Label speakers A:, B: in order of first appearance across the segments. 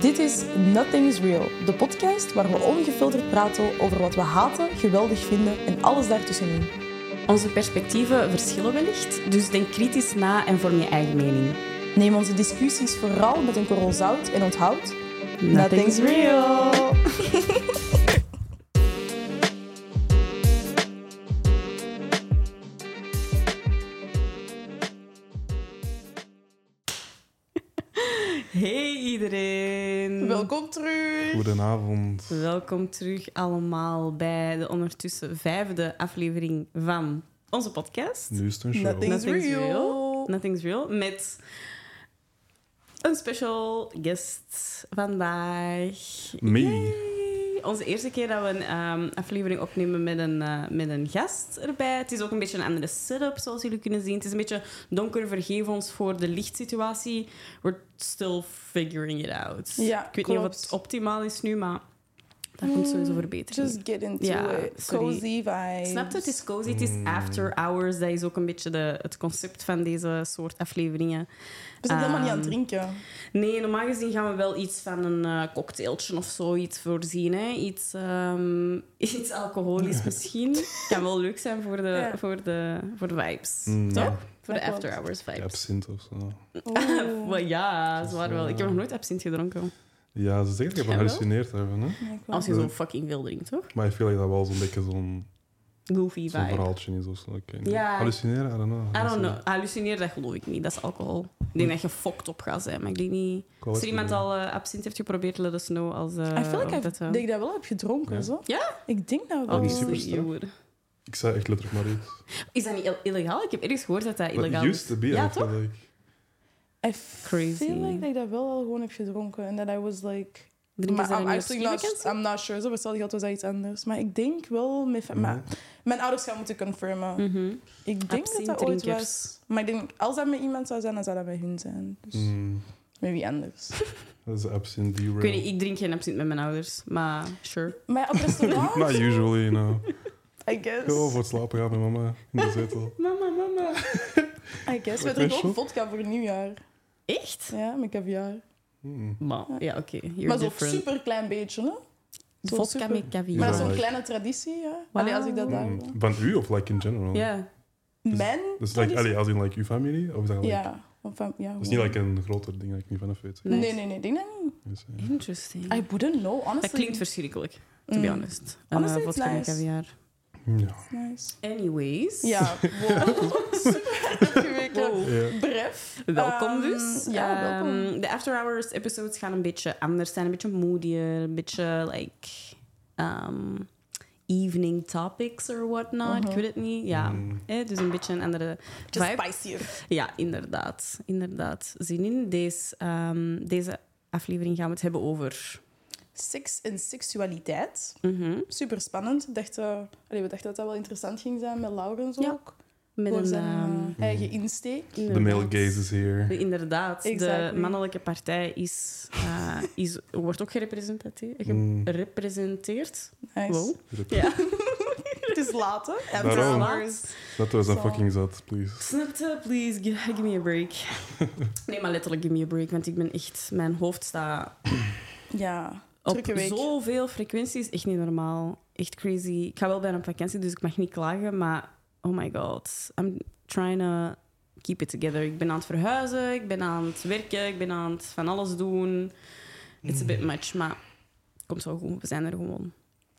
A: Dit is Nothing is Real, de podcast waar we ongefilterd praten over wat we haten, geweldig vinden en alles daartussenin.
B: Onze perspectieven verschillen wellicht, dus denk kritisch na en vorm je eigen mening.
A: Neem onze discussies vooral met een korrel zout en onthoud...
B: Nothing's real. Hey iedereen!
A: Welkom terug!
C: Goedenavond.
B: Welkom terug allemaal bij de ondertussen vijfde aflevering van onze podcast.
C: Nu is het een show.
A: Nothing- Nothing's real.
B: Nothing's real. Met een special guest vandaag.
C: Me.
B: Yay! Onze eerste keer dat we een ehm, aflevering opnemen met een, eh, met een gast erbij. Het is ook een beetje een andere setup, zoals jullie kunnen zien. Het is een beetje donker. Vergeef ons voor de lichtsituatie. We're still figuring it out.
A: Ja,
B: Ik weet niet
A: klopt. Mm,
B: of het optimaal is nu, maar daar komt sowieso verbetering.
A: Just get into
B: Ja,
A: it.
B: sorry.
A: Cozy vibes.
B: Snap je? Het is cozy, het is after hours. Dat is ook een beetje de, het concept van deze soort afleveringen.
A: We zijn helemaal niet aan het
B: Ehm,
A: drinken.
B: Nee, normaal gezien gaan we wel iets van een eh, cocktailtje of zoiets voorzien. Hè? Iets, ehm, iets alcoholisch misschien. Kan wel leuk zijn voor de,
A: Ja.
B: voor de, voor de vibes.
C: Mm,
B: Toch?
C: ja,
B: Voor
A: Dat
B: de
A: klopt.
B: after hours vibes.
C: Absint of zo.
A: Oeh.
B: Wel ja,
C: Dus,
B: zwaar wel. Ik heb
C: eh,
B: nog nooit absint gedronken.
C: Ja, ze zeggen dat je
B: Jawel.
C: gehallucineerd hebben, hè?
A: Ja, ik wel.
B: Als je zo fucking veel drinkt, toch?
C: Maar ik feel dat dat wel zo'n beetje zo'n
B: Goofy
C: zo'n
B: vibe.
C: verhaaltje is of zo. Ik weet niet.
B: Ja.
C: Hallucineren? I don't know.
B: I don't know. Hallucineer, dat geloof ik niet. Dat is alcohol. Ik denk dat je fokt op gaat zijn, maar ik denk niet...
C: Ik wou
B: Als
C: het
B: er iemand
C: niet
B: al eh, absint heeft geprobeerd, let us know. Als, eh,
A: I feel like
B: of
A: I
B: dat, eh,
A: dat ik dat wel heb gedronken,
C: Ja.
A: zo.
B: Ja?
A: Ik denk dat wel.
C: Oh, die
B: als
C: superster.
B: je would.
C: doen. Ik zei echt letterlijk maar iets.
B: Is dat niet ill- illegaal? Ik heb ergens gehoord dat dat illegaal
C: But it used
B: is.
C: to be,
B: Ja,
C: I feel
B: toch?
C: like.
A: I
B: Crazy.
A: feel like dat ik dat wel al gewoon heb gedronken. En dat I was like...
B: Drinken
A: Maar
B: ze dat
A: I'm
B: niet op
A: actually not,
B: ski-vakantie?
A: I'm not sure. Zo bestel geld was dat iets anders. Maar ik denk wel... Met,
C: Mhm.
A: maar, mijn ouders gaan moeten confirmen.
B: Mhm.
A: Ik denk dat dat ooit
B: Absinthe-drinkers.
A: was. Maar ik denk, als dat met iemand zou zijn, dan zou dat met hun zijn. Dus
C: Mm,
A: met wie anders.
C: Dat is absint derail.
B: Ik weet niet, ik drink geen absint met mijn ouders, maar sure.
A: Maar op restaurant,
C: Not usually, you know.
A: I guess.
C: Gewoon voor het slapen gaan met mama in de zetel.
B: Mama, mama.
A: I guess. We
C: Wat
A: drinken
C: is
A: ook
C: dat?
A: vodka voor nieuwjaar.
B: Echt?
A: Ja, met caviar.
C: Mm.
B: Maar, ja, oké. You're
A: Maar zo'n
B: different.
A: super klein beetje, hè? zo
B: Vodka
A: super-
B: met
A: Maar dat
B: caviar.
A: is zo'n
C: Ja.
A: kleine traditie, ja.
B: Wauw.
A: Allee, als ik dat daar...
C: Mm. Van u of like in general?
B: Ja.
A: Mijn
C: Dus like, allee, als in like uw familie? Of is dat like...
A: Ja. Of van- ja
C: Dat is niet like een groter ding dat ik niet vanaf weet.
A: Nee,
B: Nice.
A: nee, nee. Denk dat niet.
C: Dus, ja.
B: Interesting.
A: I wouldn't know, honestly.
B: Dat klinkt verschrikkelijk, to
A: Mm.
B: be honest.
A: Honestly,
B: Eh,
A: it's
B: vodka met
A: nice.
B: caviar.
C: eh, Ja.
A: Nice.
B: Anyways.
A: Ja, wow. Super uitgeweken.
B: Wow.
C: Ja.
A: Bref.
B: Welkom
A: Ehm,
B: dus.
A: Ja, welkom.
B: Ehm, de after hours episodes gaan een beetje anders zijn, een beetje moodier, een beetje like ehm, evening topics or whatnot. Ik weet het niet. Ja.
C: Mm.
B: Eh, dus een beetje een andere
A: Mhm. Just
B: vibe.
A: spicier.
B: Ja, inderdaad. Inderdaad. Zin in. Deze, ehm, deze aflevering gaan we het hebben over.
A: Seks en seksualiteit.
B: Mhm.
A: Super spannend. Ik dacht, eh, allee, we dachten dat dat wel interessant ging zijn met Laurens
B: Ja.
A: ook.
B: Met
A: Voor
B: een.
A: zijn eh,
B: ehm,
A: eigen insteek.
C: The
B: inderdaad.
C: male gaze is here.
B: Inderdaad. De
A: Exactly.
B: mannelijke partij is, eh, is, wordt ook gerepresenteerd.
C: Mm.
B: gerepresenteerd.
A: Nice.
B: Wow.
C: Ja.
B: Ja.
A: Het is later. En
C: Daarom.
A: Laurens.
C: Dat was een
A: Zo.
C: fucking zat, please.
B: Snapte, please, gi- give, me a break. Nee, maar letterlijk, give me a break, want ik ben echt... Mijn hoofd staat
A: Ja,
B: op
A: drukke week.
B: zoveel frequenties. Echt niet normaal. Echt crazy. Ik ga wel bijna op vakantie, dus ik mag niet klagen, maar... Oh my god. I'm trying to keep it together. Ik ben aan het verhuizen, ik ben aan het werken, ik ben aan het van alles doen. It's a bit much, maar... het Komt zo goed, we zijn er gewoon.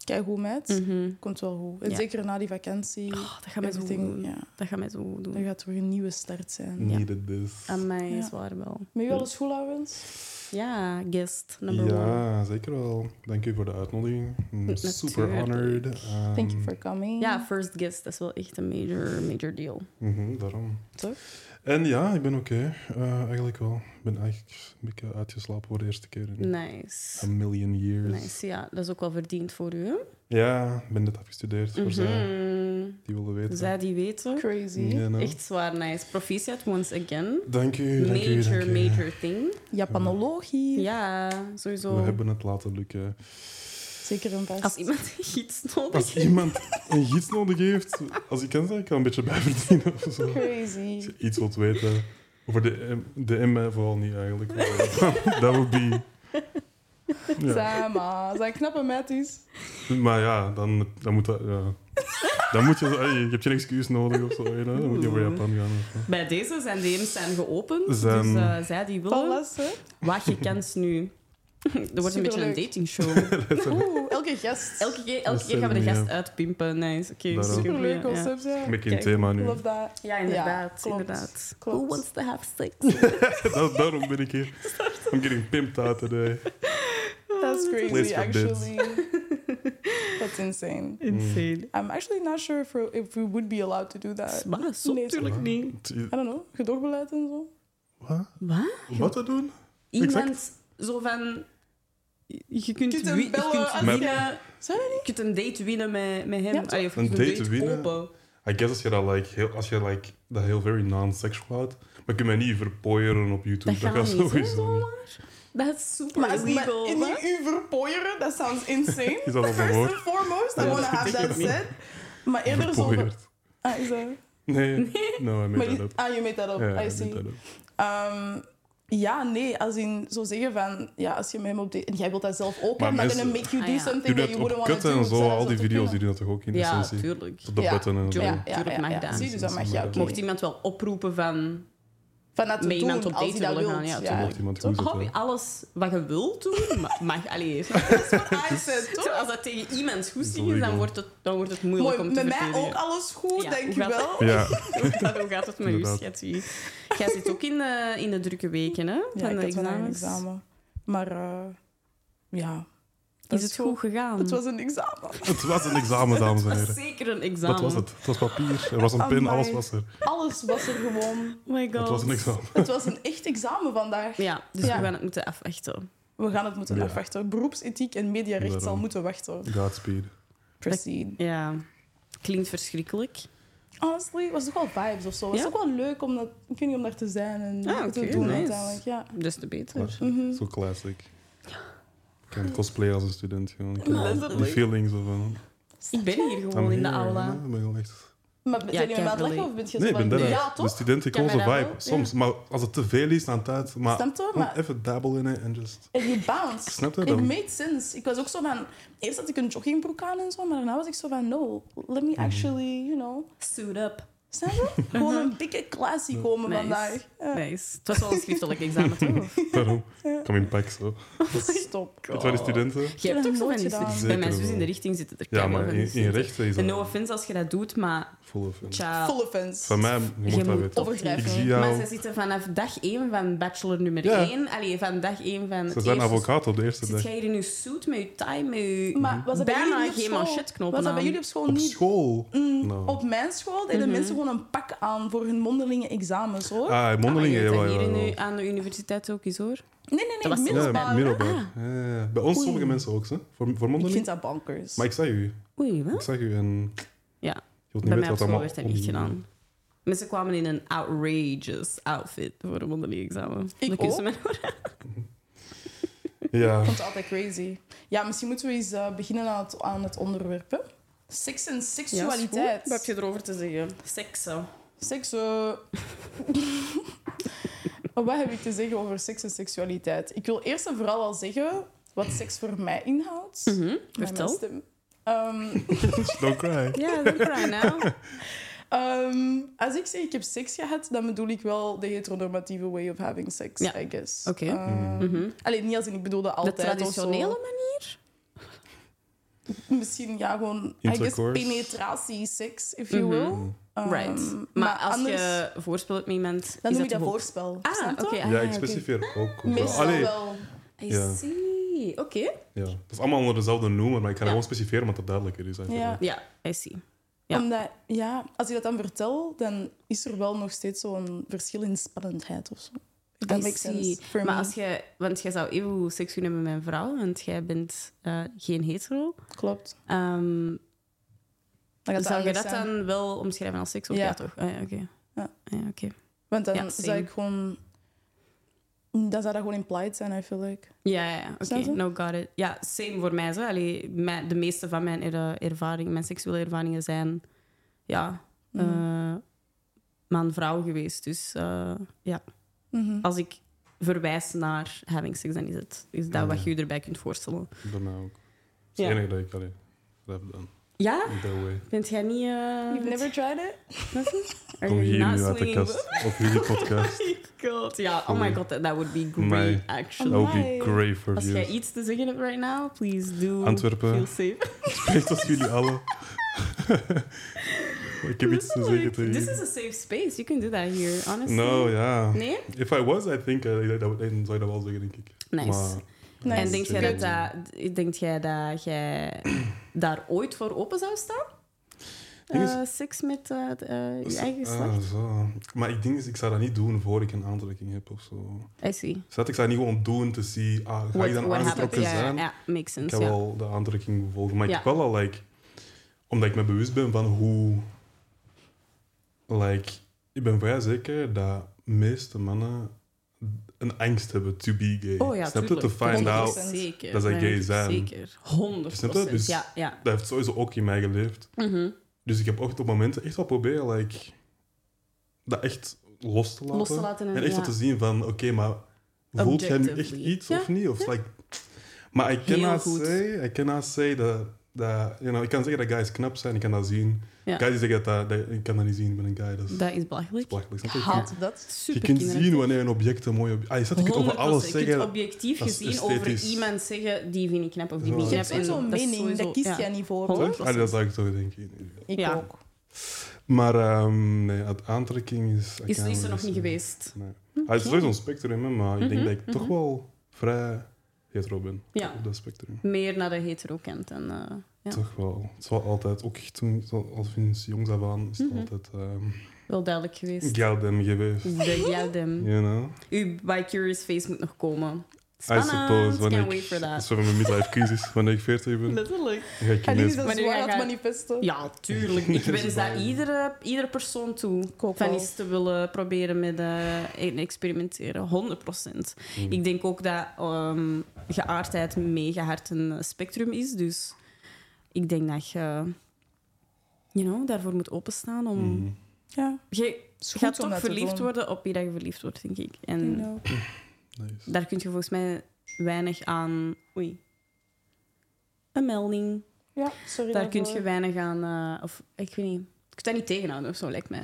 A: Kijk hoe met.
B: Mhm.
A: Komt wel goed. En
B: Ja.
A: zeker na die vakantie.
B: Oh, dat gaat mij zo goed
A: everything,
B: doen.
A: ja.
B: Dat gaat mij zo goed
A: Dan
B: doen.
A: gaat er weer een nieuwe start zijn.
B: Ja.
C: Needed this.
B: Aan mij
A: Ja.
B: is waar wel.
A: Met u alles goed, Laurens?
B: Ja, guest number one.
C: ja, zeker wel. Dank u voor de uitnodiging. Mm, Super
B: Natuurlijk.
C: honored. Um,
A: Thank you for coming.
B: Ja, first guest, dat is wel echt een major, major deal.
C: mhm, daarom.
A: Toch?
C: En ja, ik ben oké. Eh, eigenlijk wel. Ik ben eigenlijk een beetje uitgeslapen voor de eerste keer in a
B: Nice.
C: million years.
B: Nice, ja. Dat is ook wel verdiend voor u, hè?
C: Ja, ik ben net afgestudeerd voor zij
B: Mhm.
C: die wilden weten.
B: Zij die weten.
A: Crazy.
C: Ja, nou.
B: Echt zwaar nice. Proficiat once again.
C: Dank u, dank u, dank
B: Major,
C: u.
B: major thing.
A: Japanologie.
B: Ja, sowieso.
C: We hebben het laten lukken.
A: Zeker een vast.
B: Als iemand iets nodig
C: Als
B: heeft.
C: iemand een gids nodig heeft, als ik kan zijn, ik kan een beetje bijverdienen of zo. Als
A: Crazy.
C: je iets wilt weten over de M, de M mij vooral niet eigenlijk. Dat would be
A: Zeg maar, zijn knappe met is.
C: Maar ja, dan, dan moet dat... Ja. Dan moet je... zo- hey, Je hebt geen excuus nodig of zo. hè. Dan moet je voor Japan gaan. of zo.
B: Bij deze zijn DM's zijn geopend.
C: Zijn-
B: Dus eh, zij die willen.
A: Pallas, hè?
B: Wat je kent nu. Er wordt een beetje een
A: Superleuk.
B: datingshow.
A: Oeh, elke gast.
B: Elke keer, elke
C: Dat
B: keer gaan we de
C: zijn we,
B: gast
C: ja.
B: uitpimpen. Nice. Oké,
C: Daarom.
A: Superleuk
B: supergoeie, ja.
A: concept, ja.
C: Een beetje een
B: Kijk.
C: thema nu.
A: Love dat.
B: Ja, inderdaad.
A: klopt.
B: inderdaad.
A: Klopt.
B: Who wants to have sex?
C: Dat, daarom ben ik hier. I'm getting pimped out today.
A: That's
B: Oh,
A: crazy,
C: Place for bids.
A: actually. That's insane.
B: Insane.
A: I'm actually not sure if, we- if we would be allowed to do that.
B: Maar dat Eh, is
A: Nee,
B: natuurlijk
C: sorry.
B: niet.
A: I don't know, gedoogbeleid en zo.
C: Wat?
B: Wat?
C: Wat te doen?
B: Iemand zo van... Je kunt,
A: Je kunt hem
B: wi- je
A: bellen
B: kunt
A: als
C: je-
B: winnen.
A: Zou dat
B: Je kunt een date winnen met, met hem.
A: Ja, toch?
B: Allee, of je
C: Een
B: kunt
C: date winnen?
B: kopen.
C: I guess als je dat like, heel, als je like, dat heel very non-sexual houdt, maar kun je mij niet verpooieren op YouTube.
B: Dat
C: Dat,
B: gaat
C: gaat
B: niet, hè,
C: sowieso niet.
B: Dat is super
A: Maar als ik
B: illegal.
A: me in die u verpooieren, dat sounds insane.
C: Is dat al
A: First
C: verhoord?
A: and foremost, I
B: Ja,
A: wanna
B: dat
A: have
B: denk
A: that
B: ik niet.
A: said. Maar eerder zo... van-
C: Verpooierd.
A: Ah, is dat...
C: Nee. No, I
A: Maar
C: made that
A: die-
C: up.
A: ah, you made
B: Oh,
A: that up.
C: Ja,
A: I
C: I
A: see.
C: made that up.
A: Ehm, ja, nee, als in zo zeggen van... Ja, als je met hem op date... En jij wilt dat zelf ook,
C: Maar
A: maar, dan
C: mensen-
A: make you
B: Ah,
A: do
B: ja.
A: something
C: Die
A: that
C: dat
A: you
C: op
A: wouldn't want to
C: kutten
A: do.
C: en zo,
A: zouden ze
C: al die
A: toch
C: video's die
A: kunnen?
C: doen dat toch ook in
B: Ja,
C: essentie?
B: tuurlijk.
C: Tot de
A: Ja.
C: button en zo.
B: Ja.
A: Ja, ja,
B: tuurlijk
A: ja,
B: mag
A: ja.
B: dat.
A: Zie, dus dat mag je ook
C: Mocht
A: niet.
B: Mocht iemand wel oproepen van...
A: Van dat te
B: met
A: doen,
B: iemand op
A: als
B: date
A: hij dat
B: willen gaan,
A: wilt.
B: ja,
C: Zo mocht iemand goed
B: Hou je
C: zetten.
B: alles wat je wilt doen, ma- mag. Allee,
A: I said, toch?
B: als dat tegen iemands goesting is,
C: Illegal.
B: dan wordt het, dan wordt het moeilijk
A: Mooi,
B: om te
A: met mij
B: verdedigen.
A: ook alles goed,
B: Ja,
A: denk
B: hoe
A: je
B: gaat
A: wel.
C: Ja,
B: Inderdaad, Hoe gaat het met u,
C: Inderdaad.
B: schatje? Jij zit ook in de, in de drukke weken, hè?
A: Ja,
B: van
A: ik
B: de
A: had vandaag een
B: examens.
A: examen. Maar eh, ja, dat
B: Is het goed gegaan?
A: Het was een examen.
C: het was een examen, dames en
B: Het was Oh
C: heren.
B: zeker een examen.
C: Dat was het. Het was papier, er was een
A: Amai.
C: pen, alles was er.
A: Alles was er gewoon.
B: Oh my god.
C: Het was een examen.
A: Het was een echt examen vandaag.
B: Ja, dus
A: Ja.
B: we gaan het moeten afwachten.
A: We gaan het moeten
C: Ja.
A: afwachten. Beroepsethiek en mediarecht zal
C: Daarom.
A: moeten wachten.
C: Godspeed.
A: Proceed.
B: Ja. Klinkt verschrikkelijk.
A: Honestly, het was toch wel vibes of zo. Het was
B: Ja?
A: ook wel leuk om, dat, ik weet niet, om daar te zijn en
B: Ah,
A: te
B: oké,
A: doen
B: nice.
A: uiteindelijk. Ja.
B: Dus te beter.
C: Klaar. Zo classic. Ik kan cosplay als een student gewoon. Ik ken
B: Letterlijk.
C: Die feeling zo van.
B: Ik ben hier
C: I'm
B: gewoon in de
C: here,
B: aula.
C: ja, ik ben heel echt
A: Maar ben
B: Ja,
A: je met
B: can't
A: mij aan het lachen
B: relate.
A: of ben je
C: Nee,
A: zo van...
C: ik ben Dus dat.
A: ja,
C: eigenlijk.
A: toch?
C: De studenten
B: Kan
C: kozen
B: mij dat
C: vibe.
B: wel?
C: Soms, maar als het te veel is, dan tijd. Maar
A: Stemt hoor,
C: gewoon
A: maar-
C: even dabble in it en just...
A: En je bounce.
C: Snap je
A: It
C: dan?
A: made sense. Ik was ook zo van... Eerst had ik een joggingbroek aan en zo, maar daarna was ik zo van... No, let
C: Mhm.
A: me actually, you know...
B: Suit up.
A: Snap je? Gewoon een dikke klassie komen
B: Nice.
A: vandaag. Ja.
B: Nice. Het was wel een schriftelijk examen, toch?
C: Daarom, kom in pak zo.
A: Stop.
C: Het waren studenten.
B: Je hebt
A: heb
B: toch zo van
A: nooit gedaan.
B: die studenten. Bij
C: Zeker
B: mijn zus
C: wel.
B: in de richting zitten er
C: Ja,
B: keiveel
C: maar
B: van die
C: in, in
B: studenten.
C: rechten is
B: En
C: dat
B: no offense als je dat doet, maar
C: full of it.
B: tja,
A: Full offense.
C: Van mij mocht
B: Je
C: dat
B: moet
C: weten. Ik
A: overgrijpen.
C: zie
B: Maar ze
C: jou...
B: zitten vanaf dag 1 van bachelor nummer
C: Ja.
B: 1. Allee, van dag 1 van
C: Ze
B: het
C: zijn
B: eerste
C: advocaat op de eerste
B: Zit
C: dag.
B: jij hier in je suit, met je tie, met je...
A: Maar was dat bij
B: Bijna
A: jullie op
B: geen
A: school?
B: manchetknopen
A: Was dat bij
B: aan.
A: jullie op school
C: Op
A: niet?
C: school?
A: Mm,
C: No.
A: Op mijn school deden mensen gewoon een pak aan voor hun mondelinge examens, hoor.
C: Ah,
B: Mhm. Ah,
C: mondelingen,
B: je hebt
C: jawel,
B: dat hier in
C: jawel.
B: de- aan de universiteit ook eens, hoor.
A: nee, nee,
B: dat
A: nee,
B: was-
A: middelbaar.
C: Ja, middelbaar.
B: Ah.
C: Ja, ja, ja. Bij ons sommige mensen ook, hè? Voor, voor
A: Ik vind
C: mondeling.
A: dat bankers.
C: Maar ik zag u.
B: Oei,
C: Ik
B: wat?
C: zag u en...
B: Ja,
C: Je wilt niet
B: bij mij
C: weten
B: op
C: wat
B: school
C: allemaal...
B: werd dat
C: om-
B: niet gedaan. Mensen kwamen in een outrageous outfit voor een mondeling examen.
A: Ik
B: Dan kussen
A: ook.
B: mijn oren.
C: Ja.
A: Ik vond het altijd crazy. Ja, misschien moeten we eens eh, beginnen aan het, aan het onderwerp. hè. Seks en seksualiteit.
B: Wat heb je erover te zeggen? Seksen.
A: Seks. eh, Oh, wat heb ik te zeggen over seks en seksualiteit? Ik wil eerst en vooral al zeggen wat seks voor mij inhoudt. Met
B: Mhm,
A: mijn
B: Vertel.
A: stem. Ehm,
C: Don't cry.
B: Ja, don't cry now.
A: ehm, als ik zeg ik heb seks gehad, dan bedoel ik wel de heteronormatieve way of having sex,
B: Ja.
A: I guess.
B: Oké.
A: Ehm,
B: Mhm.
A: Alleen niet als in ik bedoelde
B: De
A: altijd.
B: traditionele
A: of
B: manier?
A: zo. Misschien ja, gewoon I guess
C: Intercourse.
A: penetratie, seks, if you
B: Mhm.
A: will. Ehm,
B: Right. Maar, als je voorspel met iemand...
A: Dan
B: is
A: noem je dat
B: toch ook-
A: voorspel.
B: Ah,
A: snap
B: oké.
A: je?
B: ah,
C: Ja, ik
B: oké.
C: specifieer ook. wel.
A: Meestal
C: Allee,
A: wel.
B: I
C: Ja.
B: see. Oké.
C: Ja. Dat is allemaal onder dezelfde noemer, maar ik ga
B: Ja.
C: gewoon specifieren omdat het duidelijker is. eigenlijk.
A: Ja.
B: Ja, I see. Ja.
A: Omdat, ja, als je dat dan vertel, dan is er wel nog steeds zo'n verschil in spannendheid of zo. Dat
B: I
A: makes
B: see.
A: sense. for
B: Maar
A: me.
B: als jij... Want jij zou even goed seks kunnen met mijn vrouw, want jij bent eh, geen hetero.
A: Klopt.
B: Ehm,
A: Dan gaat
B: zou je
A: anders
B: dat
A: zijn.
B: dan wel omschrijven als seks? Of
A: Ja.
B: ja. toch? Ah, ja, oké.
A: Ja.
B: Ja, oké.
A: Want dan
B: Ja,
A: zou
B: same.
A: ik gewoon... Dan zou dat gewoon implied zijn, I feel like.
B: Ja, ja, ja, oké.
A: Snap je?
B: No, got it. Ja, same voor mij. Zo. Allee, mijn- de meeste van mijn er- ervaring, mijn seksuele ervaringen zijn... Ja,
A: Mhm.
B: eh, man-vrouw geweest. Dus eh, ja,
A: Mhm.
B: als ik verwijst naar having sex, dan is, het, is dat
C: Ja.
B: wat je je erbij kunt voorstellen.
C: Bij mij ook. Het
B: Ja.
C: is het enige dat ik allee, dat heb gedaan.
B: Ja?
C: In that way.
B: Bent jij niet... eh,
A: You've
B: bent-
A: never tried it?
B: Are
C: Kom
B: you
C: hier
B: not
C: nu uit de
B: swinging
C: kast. Op jullie podcast.
B: Oh my god. Ja, oh my god, that, that would be great,
C: Nee.
B: actually.
C: Dat would be
A: Amai.
C: great for
B: Als jij
C: views.
B: iets te zeggen hebt right now, please do.
C: Antwerpen.
B: Feel safe.
C: Spreekt als jullie allen. ik heb iets te zeggen
B: Letterlijk.
C: tegen
B: This
C: jullie.
B: is a safe space. You can do that here, honestly.
C: No, ja.
B: Nee?
C: If I was, I think, eh, dat- dat- dan zou je dat wel zeggen, denk ik.
B: Nice.
C: Maar-
A: Nice.
B: En denk jij, dat eh,
C: Good.
B: dat, denk jij dat jij daar ooit voor open zou staan?
C: Ding is-
B: Eh, seks met eh, d- eh, je
C: Dus-
B: eigen
C: ah,
B: geslacht?
C: zo. Maar ik denk, is, ik zou dat niet doen voor ik een aantrekking heb of zo.
B: I see.
C: Zat eh, Dus ik zou het niet gewoon doen te zien, ah, ga
B: What-
C: ik dan
B: what
C: aangetrokken
B: happens? Ja,
C: zijn?
B: Ja, ja, makes
C: Ik
B: sense.
C: heb
B: Ja.
C: wel de aantrekking volgen. Maar
B: Ja.
C: ik heb wel al, like, omdat ik me bewust ben van hoe. Like, ik ben vrij zeker dat meeste mannen een angst hebben to be gay.
B: Oh ja,
C: Snap je?
B: tuurlijk.
C: To find out.
A: 100%.
B: Zeker.
C: dat zij gay
B: Nee,
C: zijn.
B: Zeker. 100
C: Snap je? Dus-
B: Ja, ja.
C: Dat heeft sowieso ook in mij geleefd.
B: Mhm.
C: Dus ik heb ook op momenten echt wel proberen, like, dat echt los te laten.
B: Los te laten en-
C: en echt
B: ja.
C: zo te zien van, oké, maar voelt jij nu echt
B: Objectively.
C: iets
B: Ja,
C: of niet? Of like, maar ik
B: Heel
C: cannot
B: goed.
C: say, I cannot say dat, dat you know, ik kan zeggen dat guys knap zijn, ik kan dat zien.
B: Ja.
C: Guys die zeggen dat, dat, ik kan dat niet zien, ik ben een guy, dat is, dat
B: Dat is
C: is
B: belachelijk.
C: belachelijk.
A: Ik
C: Snap je? Je
A: haat
C: kunt-
A: dat.
B: Super
C: Je kunt zien wanneer een object een mooi object... Ah, je staat, je kunt over alles
B: Je kunt
C: zeggen.
B: objectief
C: dat is
B: gezien over
C: esthetisch.
B: iemand zeggen die vind ik knap of die
C: Ja.
B: vind ik
A: Je
B: knap.
A: hebt sowieso
B: en
A: een
B: dat is
A: mening,
B: sowieso-
A: daar kies
B: ja.
A: jij niet
B: Honderd
A: voor.
C: Toch? Ah, dat zou ik toch denken.
A: Ik
B: Ja.
A: ook.
C: Maar ehm, nee, het aantrekking is...
B: Is, is er nog
C: is-
B: niet geweest.
C: Nee. Hij is sowieso een spectrum, hè, maar ik denk
B: Mhm,
C: dat ik toch
B: mhm.
C: wel vrij hetero ben
B: Ja.
C: op dat spectrum.
B: Meer naar de hetero kant. En, eh, Ja.
C: Toch wel. Het is wel altijd, ook toen, zo- al sinds jongs af aan, is het
B: Mhm.
C: altijd ehm
B: wel duidelijk geweest. Dus
C: Galdem geweest.
B: De Geldem.
C: You know?
B: Uw By Curious Face moet nog komen.
C: I
B: Spannend.
C: suppose,
B: Can't
C: wanneer
B: wait
C: ik,
B: for
C: dat is
B: that.
C: voor mijn midlife crisis, wanneer ik 40 ben, dan
B: Letterlijk.
C: ga ik
A: En die is
C: ineens...
A: dat
B: Wanneer
A: zwaar
B: jij
A: aan het
B: gaat-
A: manifesten.
B: Ja, tuurlijk. Ik wens dat
C: Spannend.
B: iedere, iedere persoon toe.
A: Ik ook
B: Van
A: wel.
B: iets te willen proberen met eh, en experimenteren. 100
C: Mm.
B: Ik denk ook dat ehm, geaardheid mega hard een eh, spectrum is. Dus ik denk dat je you know, daarvoor moet openstaan. Om...
C: Mhm.
A: Ja,
B: Je
A: is goed
B: gaat
A: om
B: toch
A: dat te
B: verliefd
A: doen.
B: worden op wie dat je verliefd wordt, denk ik. En
A: You know.
C: Nice.
B: daar kun je volgens mij weinig aan... Oei. Een melding.
A: Ja, sorry
B: Daar kun je
A: daarvoor.
B: weinig aan... eh, of ik weet niet. Je kunt dat niet tegenhouden of zo, lijkt mij.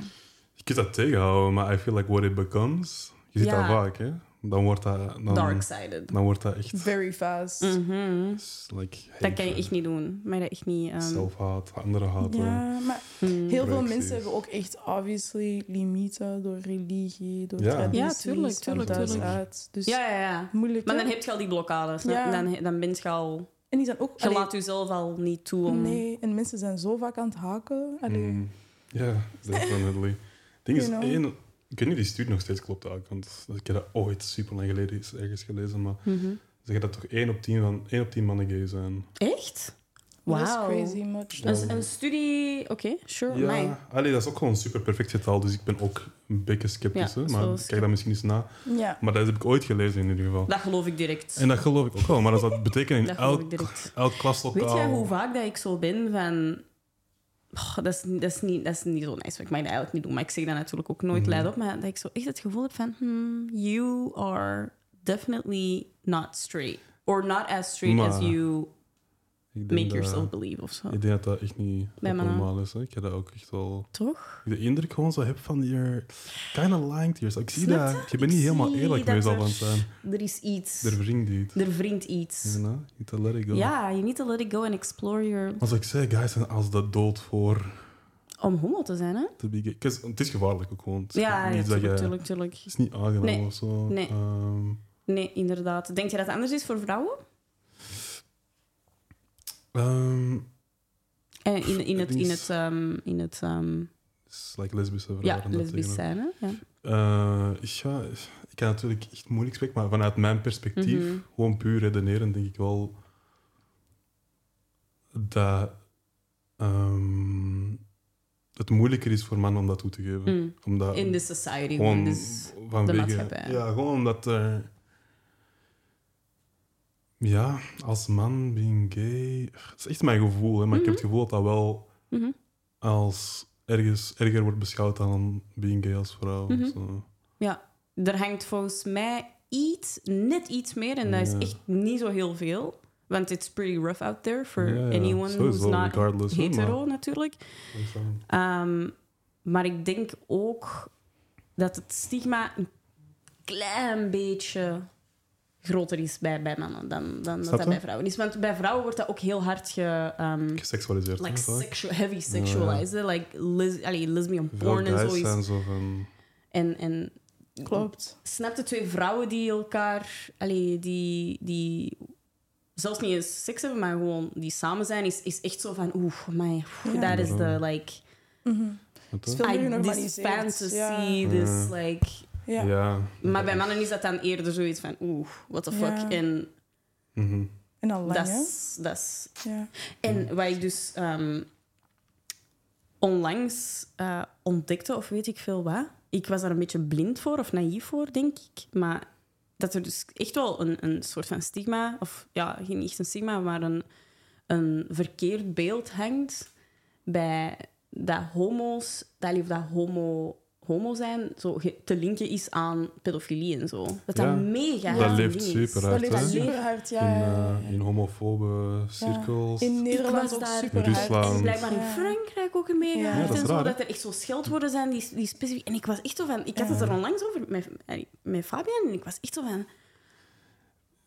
C: Je kunt dat tegenhouden, maar I feel like what it becomes... Je ziet
B: Ja.
C: dat vaak, hè. Dan wordt dat... Dan,
B: Dark-sided.
C: dan wordt dat echt...
A: Very fast.
B: Mhm.
C: Like,
B: Dat kan je
C: hatred,
B: echt niet doen. Maar dat echt niet... ehm,
C: Zelfhaat, andere haten.
A: Ja, maar
B: hmm.
A: heel veel
C: Correcties.
A: mensen hebben ook echt obviously limieten door religie, door
C: Ja.
A: tradities.
B: Ja, tuurlijk,
A: van
B: tuurlijk,
A: thuis
C: tuurlijk.
A: uit. Dus
B: Ja, ja, ja.
A: moeilijk.
B: Maar
A: hè?
B: dan heb je al die blokkades. hè.
A: Ja.
B: Dan, dan ben je al...
A: En die zijn ook...
B: Je
A: allee,
B: laat jezelf al niet toe om...
A: Nee, en mensen zijn zo vaak aan het haken. Allee,
C: Mm. Ja, definitely. Het ding is,
A: You know?
C: één, ik weet niet, die stuurt nog steeds klopt eigenlijk, want ik heb dat ooit super lang geleden is ergens gelezen, maar
B: Mhm.
C: ze zeggen dat toch één op tien, van, één op tien mannen gay zijn.
B: Echt?
A: dat is
B: Wauw.
A: crazy much.
C: Ja.
B: Een, een studie... Oké, sure. mij.
C: Ja, allee, dat is ook gewoon een super perfect getal, dus ik ben ook een beetje
B: Ja,
C: sceptisch, hè,
B: dat is
C: maar
B: wel
C: ik kijk daar misschien eens na.
A: Ja.
C: Maar dat heb ik ooit gelezen in ieder geval.
B: Dat geloof ik direct.
C: En dat geloof ik ook wel, maar dat zou betekenen in
B: Dat geloof
C: elk,
B: ik direct.
C: elk klaslokaal...
B: Weet jij hoe vaak dat ik zo ben van... "Oh, dat, is, dat, is niet, dat is niet zo nice. Ik mag dat eigenlijk niet doen. Maar ik zeg dat natuurlijk ook nooit
C: Mhm.
B: luid op. Maar dat ik zo echt het gevoel heb van... hmm, you are definitely not straight. Or not as straight
C: Maar
B: as you
C: Ik denk
B: make
C: dat-
B: yourself believe of zo.
C: Ik denk dat dat echt niet
B: Bij mannen.
C: normaal is. Hè. Ik heb dat ook echt wel...
B: Toch?
C: de indruk gewoon zo heb van je kind of lying to yourself. Ik zie
B: Snap
C: dat. Je bent
B: Ik
C: niet helemaal
B: zie
C: eerlijk
B: dat
C: met jezelf
B: er-
C: aan het zijn.
B: Er is iets.
C: Er wringt iets.
B: Er wringt iets.
C: You know? You need to let it go.
B: Ja, you need to let it go and explore your...
C: Als ik zeg, guys, zijn als dat dood voor
B: Om homo te zijn, hè?
C: te begin. 'Cause Het is gevaarlijk ook gewoon. Het is
B: Ja,
C: niet
B: ja
C: dat je-
B: tuurlijk, tuurlijk, tuurlijk.
C: Het is niet aangenaam
B: Nee.
C: of zo.
B: Nee.
C: Ehm,
B: Nee, inderdaad. Denk je dat het anders is voor vrouwen?
C: ehm,
B: Eh, in, in het...
C: Het is-
B: In het, ehm, in het ehm,
C: het is like lesbische vrouwen.
B: ja,
C: en dat
B: lesbisch
C: tegen-
B: zijn, hè? Ja.
C: Eh, ja, ik kan natuurlijk echt moeilijk spreken, maar vanuit mijn perspectief,
B: Mhm.
C: gewoon puur redeneren, denk ik wel dat ehm, het moeilijker is voor mannen om dat toe te geven.
B: Mm.
C: Omdat,
B: In de society.
C: gewoon
B: Dus,
C: vanwege,
B: maatschappij.
C: Ja, gewoon omdat... eh, ja, als man, being gay... Het is echt mijn gevoel, hè, maar ik heb het gevoel dat dat wel
B: Mhm.
C: als ergens erger wordt beschouwd dan being gay als vrouw.
B: Mhm.
C: Zo.
B: Er hangt volgens mij iets, net iets meer. En dat is
C: Ja.
B: echt niet zo heel veel. Want it's pretty rough out there for
C: Ja, ja,
B: anyone who's
C: sowieso,
B: not
C: regardless, hè,
B: hetero,
C: maar-
B: natuurlijk.
C: Dat is dan-
B: Ehm, maar ik denk ook dat het stigma een klein beetje groter is bij, bij mannen dan, dan dat
C: Snap
B: dat
C: je?
B: bij vrouwen is. Want bij vrouwen wordt dat ook heel hard ge, ehm,
C: Geseksualiseerd.
B: like
C: hè, vaak.
B: sexual, heavy sexualized. hè. Like les, allee, lesbian
C: Veel
B: porn en
C: guys
B: zoiets.
C: zijn zo van...
B: En, en
A: Klopt.
B: snap de twee vrouwen die elkaar, allee, die, die zelfs niet eens seks hebben, maar gewoon die samen zijn, is, is echt zo van, oeh, my,
A: Ja.
B: that is the like,
C: Wat
A: Mhm. Het is
C: dan?
A: veel meer
B: I, this
A: genormaliseerd.
B: fantasy,
A: Ja.
B: this like.
A: Ja.
C: Ja.
B: Maar bij mannen is dat dan eerder zoiets van, oeh, what the fuck.
A: Ja.
B: En
C: Mhm.
A: En al lang,
B: dat
A: hè?
B: is- dat is
A: Ja.
B: En wat ik dus ehm, onlangs eh, ontdekte, of weet ik veel wat, ik was daar een beetje blind voor of naïef voor, denk ik. Maar dat er dus echt wel een, een soort van stigma, of ja, geen echt een stigma, maar een, een verkeerd beeld hangt bij dat homo's, dat, of dat homo, homo zijn, zo ge- te linken is aan pedofilie en zo. Dat
C: Ja,
B: dat mega
C: Dat
B: een
C: leeft
B: ding is.
A: Dat
C: super hard,
A: ligt
C: hè?
B: leeft
C: In,
A: super hard, ja. ja,
C: eh,
A: ja.
C: in homofobe cirkels.
A: In Nederland
B: was
A: ook
B: daar-
A: super
C: Rusland.
B: En
C: Want-
B: blijkbaar in
A: Ja.
B: Frankrijk ook mee
A: Ja.
B: gehaald
A: Ja,
C: dat is
B: en zo.
C: raar, hè?
B: dat er echt zo scheldwoorden zijn die, die specifiek... En ik was echt zo van... Ik had
A: Ja.
B: het er onlangs over met, met Fabian. En ik was echt zo van...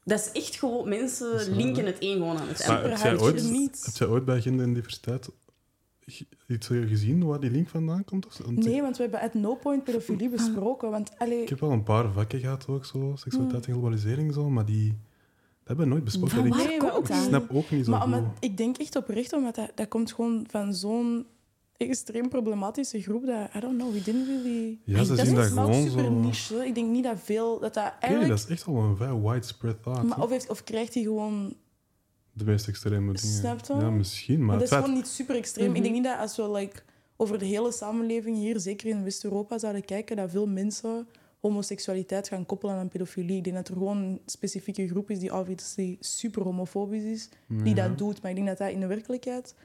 B: Dat is echt gewoon... Mensen
C: Dat is raar,
B: linken
C: hè?
B: het een gewoon aan het
C: Maar
B: ander.
C: heb jij, ooit,
A: Superhuidjes. Niets.
C: heb jij ooit bij genderindiversiteit ge- iets eh, gezien waar die link vandaan komt? Of zo? Want
A: Nee,
C: ik,
A: want we hebben at no point pedofilie besproken. Want allee,
C: ik heb wel een paar vakken gehad ook, zo, seksualiteit en
A: Hmm.
C: globalisering, zo, maar die dat hebben we nooit besproken.
B: Van
C: En
B: waar
A: Nee, maar
B: komt
A: ook
C: Ik, ik
B: dat?
A: niet.
C: snap ook niet zo
A: maar
C: goed.
A: omdat, ik denk echt oprecht, omdat dat, dat komt gewoon van zo'n extreem problematische groep. Dat, I don't know, we didn't really...
C: Ja, ze
A: Dat
C: zien dat
A: is wel
C: gewoon
A: super
C: zo...
A: niche. hè. Ik denk niet dat veel... Dat dat
C: Oké,
A: eigenlijk...
C: dat is echt al een vrij widespread thought.
A: maar
C: hè.
A: of, heeft, of krijgt hij gewoon...
C: De meest extreme dingen.
A: Snap je?
C: Ja, misschien, maar
A: Maar dat
C: het
A: is
C: feit... Mhm.
A: gewoon niet super extreem. Ik denk niet dat als we like, over de hele samenleving hier, zeker in West-Europa, zouden kijken, dat veel mensen homoseksualiteit gaan koppelen aan pedofilie. Ik denk dat er gewoon een specifieke groep is die obviously super homofobisch is, die
C: Ja.
A: dat doet. Maar ik denk dat dat in de werkelijkheid...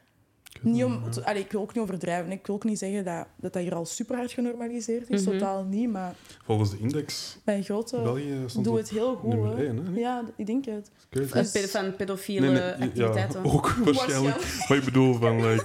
C: Ik weet
A: Niet om,
C: het niet,
A: allee, ik wil ook niet overdrijven. Ik wil ook niet zeggen dat dat, dat hier al super hard genormaliseerd is.
B: Mhm.
A: Totaal niet. Maar
C: ja. Volgens de index,
A: bij grote
C: België stond
A: doe
C: op
A: het heel goed.
C: nummer
A: hè.
C: 1, hè?
A: Ja, ik denk het.
C: Ik weet het
B: Van
A: Dus-
B: pedo- Van pedofiele
C: Nee, nee, ja,
B: activiteiten.
C: ook waarschijnlijk. Maar ik bedoel, van, like,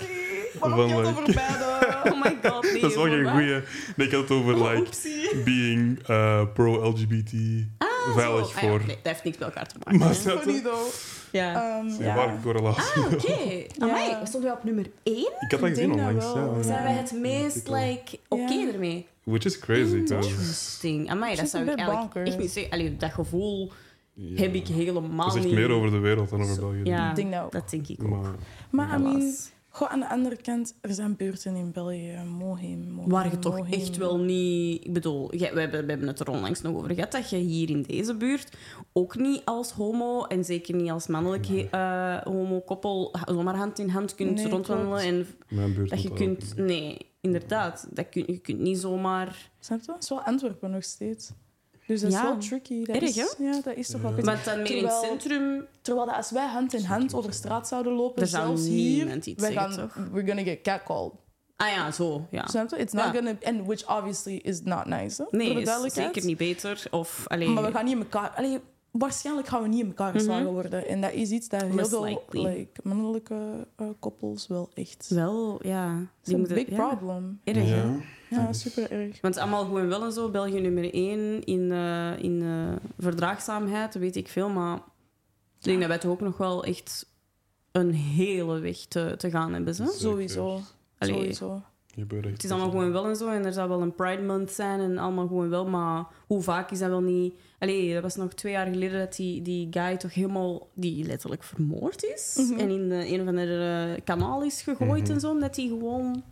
A: Waarom
C: Van,
A: heb je het
C: like-
A: over beide?
B: Oh my god, nee.
C: dat is wel geen
B: maar-
C: goeie. Nee, ik had het over
B: Oh,
C: like,
B: oepsie.
C: being eh, pro-LGBT
B: Ah,
C: veilig
B: zo. Ah, ja,
C: voor.
B: nee, dat heeft niks met elkaar te maken.
C: Maar
B: hè.
C: snap
A: Funny
C: je?
A: though.
B: Ja.
A: Ehm,
C: Het is
A: ja.
C: Een ware correlatie.
B: Ah, oké. Amai,
A: Ja.
B: stonden wij op nummer 1?
C: Ik had dat
A: Ik
C: gezien
A: denk dat
C: onlangs.
A: wel.
C: ja.
B: Zijn
A: Ja.
B: wij het meest
C: Artikel.
B: like, oké
A: Ja.
B: ermee?
C: Which is crazy. trouwens.
B: Interesting. Amai, dat
A: Zit
B: zou
A: een
B: ik
A: bit
B: eigenlijk
A: bonkers.
B: echt niet zeggen. Allee, dat gevoel
C: Ja.
B: heb ik helemaal
C: Het
B: niet.
C: zegt meer over de wereld dan over
B: Zo-
C: België.
B: Ja,
A: Ik denk dat ook.
B: dat denk ik ook.
C: Maar
A: Maar I
B: Helaas.
A: mean, goh, aan de andere kant, er zijn buurten in België. Moheem, Moheem,
B: Waar je toch
A: Moheem.
B: echt wel niet... Ik bedoel, jij- we hebben, we hebben het er onlangs nog over gehad, dat je hier in deze buurt ook niet als homo, en zeker niet als mannelijk eh, homo-koppel, zomaar hand in hand kunt
A: Nee,
B: rondwandelen.
A: klopt.
B: En
C: mijn buurt
B: dat je
C: moet daar ook
B: kunt...
C: niet.
B: Nee, inderdaad. Dat kun, je kunt niet zomaar...
A: Snap je? Het is wel Antwerpen nog steeds. Dus dat is
B: Ja.
A: wel tricky. Dat
B: Erg,
A: is, ja, dat is toch wel
C: Ja.
A: pittig.
B: Want dan meer in het
A: Terwijl-
B: centrum...
A: Terwijl dat als wij hand in hand over straat zouden
B: Er
A: lopen,
B: zou
A: zelfs hier,
B: niemand iets
A: wij
B: zeggen,
A: gaan,
B: toch?
A: we're gonna get catcalled.
B: Ah ja, zo, ja.
A: Snap je? It's not
B: Ja.
A: gonna, and which obviously is not nice. Hè?
B: Nee,
A: voor de
B: is
A: duidelijkheid.
B: zeker niet beter. Of, allee,
A: Maar we gaan niet in elkaar. Allee, waarschijnlijk gaan we niet in elkaar geslagen worden. En dat is iets dat heel
B: Less
A: veel
B: Mhm. likely.
A: like, mannelijke eh, koppels wel echt.
B: dus Wel, ja.
A: It's a
B: moeten-
A: big
B: ja.
A: problem.
B: Erg, hè?
C: Ja.
A: Ja, super erg.
B: Want allemaal goed en wel en zo. België nummer één in, eh, in eh, verdraagzaamheid, weet ik veel. Maar ik denk dat wij toch ook nog wel echt een hele weg te, te gaan hebben. Zo.
A: Sowieso.
B: Allee,
A: Sowieso.
C: Je bent echt-
B: Het is allemaal gewoon wel en zo. En er zou wel een Pride Month zijn en allemaal gewoon wel. Maar hoe vaak is dat wel niet... Allee, dat was nog twee jaar geleden dat die, die guy toch helemaal... Die letterlijk vermoord is.
A: Mhm.
B: En in eh, een of andere kanaal is gegooid
C: Mhm.
B: en zo. Omdat hij gewoon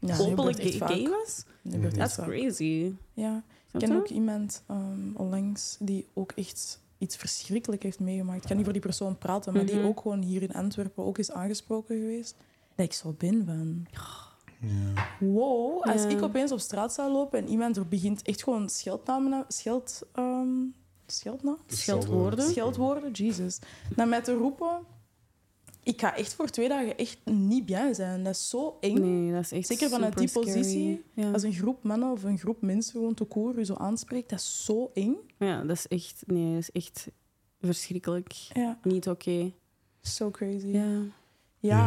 A: Ja, dat
B: openlijk
A: gebeurt echt vaak.
B: gay was.
A: Dat gebeurt
C: Mhm.
A: echt
B: That's
A: vaak.
B: crazy.
A: Ja. Ik ken ook iemand ehm, onlangs die ook echt iets verschrikkelijk heeft meegemaakt. Ik kan niet voor die persoon praten, maar
B: Mhm.
A: die ook gewoon hier in Antwerpen ook is aangesproken geweest. Dat ik zo ben van...
C: Ja.
A: Wow, als
B: Ja.
A: ik opeens op straat zou lopen en iemand er begint echt gewoon scheldnamen... na- Scheld... ehm scheldnaam?
C: Het is
B: Scheldwoorden?
C: hetzelfde.
A: Scheldwoorden, Jesus. Naar mij te roepen. ik ga echt voor twee dagen echt niet bij zijn. Dat is zo eng.
B: Nee, dat is echt
A: Zeker vanuit die
B: super scary.
A: positie,
B: Ja.
A: Als een groep mannen of een groep mensen gewoon te koer u zo aanspreekt, dat is zo eng.
B: ja, dat is echt... Nee, dat is echt verschrikkelijk.
A: Ja,
B: Niet oké.
A: so crazy. Ja.
B: Ja.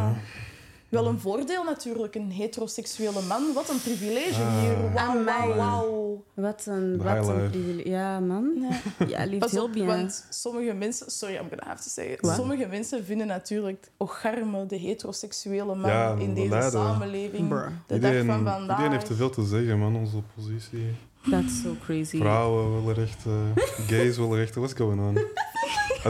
A: Wel een voordeel natuurlijk, een heteroseksuele man. Wat een privilege
C: Ah.
A: hier. Wauw,
B: Amai.
A: wauw, wauw.
B: Wat een...
C: The
B: Wat
C: highlight.
B: een privilege. Ja, man.
A: Ja.
B: Ja, leeft
A: Pas
B: heel
A: op,
B: bien.
A: want sommige mensen... Sorry, I'm gonna have to say it.
B: Wat?
A: Sommige mensen vinden natuurlijk ocharme, de heteroseksuele man
C: Ja,
A: in deze
C: leiden.
A: samenleving.
B: Bruh.
A: De
C: iedereen,
A: dag van vandaag.
C: iedereen heeft te veel te zeggen, man. Onze oppositie.
B: That's so crazy.
C: Vrouwen willen rechten, gays willen rechten. What's going on?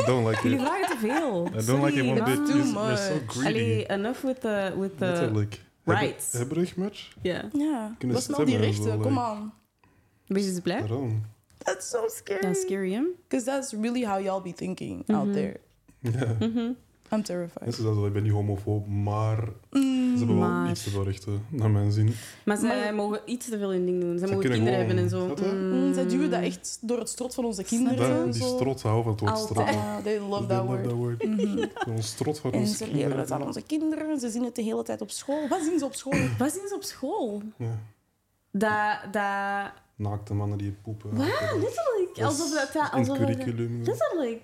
C: I don't like
B: Jullie
C: it.
B: vragen te veel.
C: I don't
B: Sorry,
C: like it one
B: man.
C: bit.
A: too
C: You're, you're so
A: much.
C: greedy.
B: Allee, eh, enough with the... With the
C: Letterlijk.
B: rights.
C: Hebberig match?
B: ja.
A: Ja,
C: Kunnen
A: dat is wel die
C: stemmen en zo,
A: rechten.
C: like.
A: Kom aan.
B: Beetje ze blij?
C: Daarom.
A: That's so scary.
B: Dat is scary, hè?
A: Because that's really how y'all be thinking out
B: Mhm.
A: there.
C: Ja.
B: Mhm.
A: I'm terrified.
C: Mensen zeggen, ik ben niet homofoob, maar
A: Mm.
C: ze hebben wel
B: Maar-
C: iets te veel rechten, naar mijn zin.
B: Maar zij
A: Maar-
B: mogen iets te veel hun ding doen. Zij
C: Ze
B: mogen
C: kunnen
B: kinderen hebben en
C: gewoon-
B: zo.
C: Snap je?
A: Mm, zij duwen dat echt door het strot van onze kinderen.
B: Snap je?
A: en
C: Dat, die
A: zo.
C: strot houden van het woord
B: Altijd.
C: strot. man.
A: Ja, they love
C: They
A: that word. Mhm.
C: Ze zijn Ons strot van
A: En
C: ons
A: ze leren het aan onze kinderen. Ze zien het de hele tijd op school. Wat zien ze op school?
B: Wat zien ze op school?
C: Ja.
B: Dat... dat...
C: Naakte mannen die poepen.
B: Wauw,
C: Dat is
B: letterlijk. Alsof dat... dat-
C: in het
B: Alsof dat
C: curriculum.
B: letterlijk.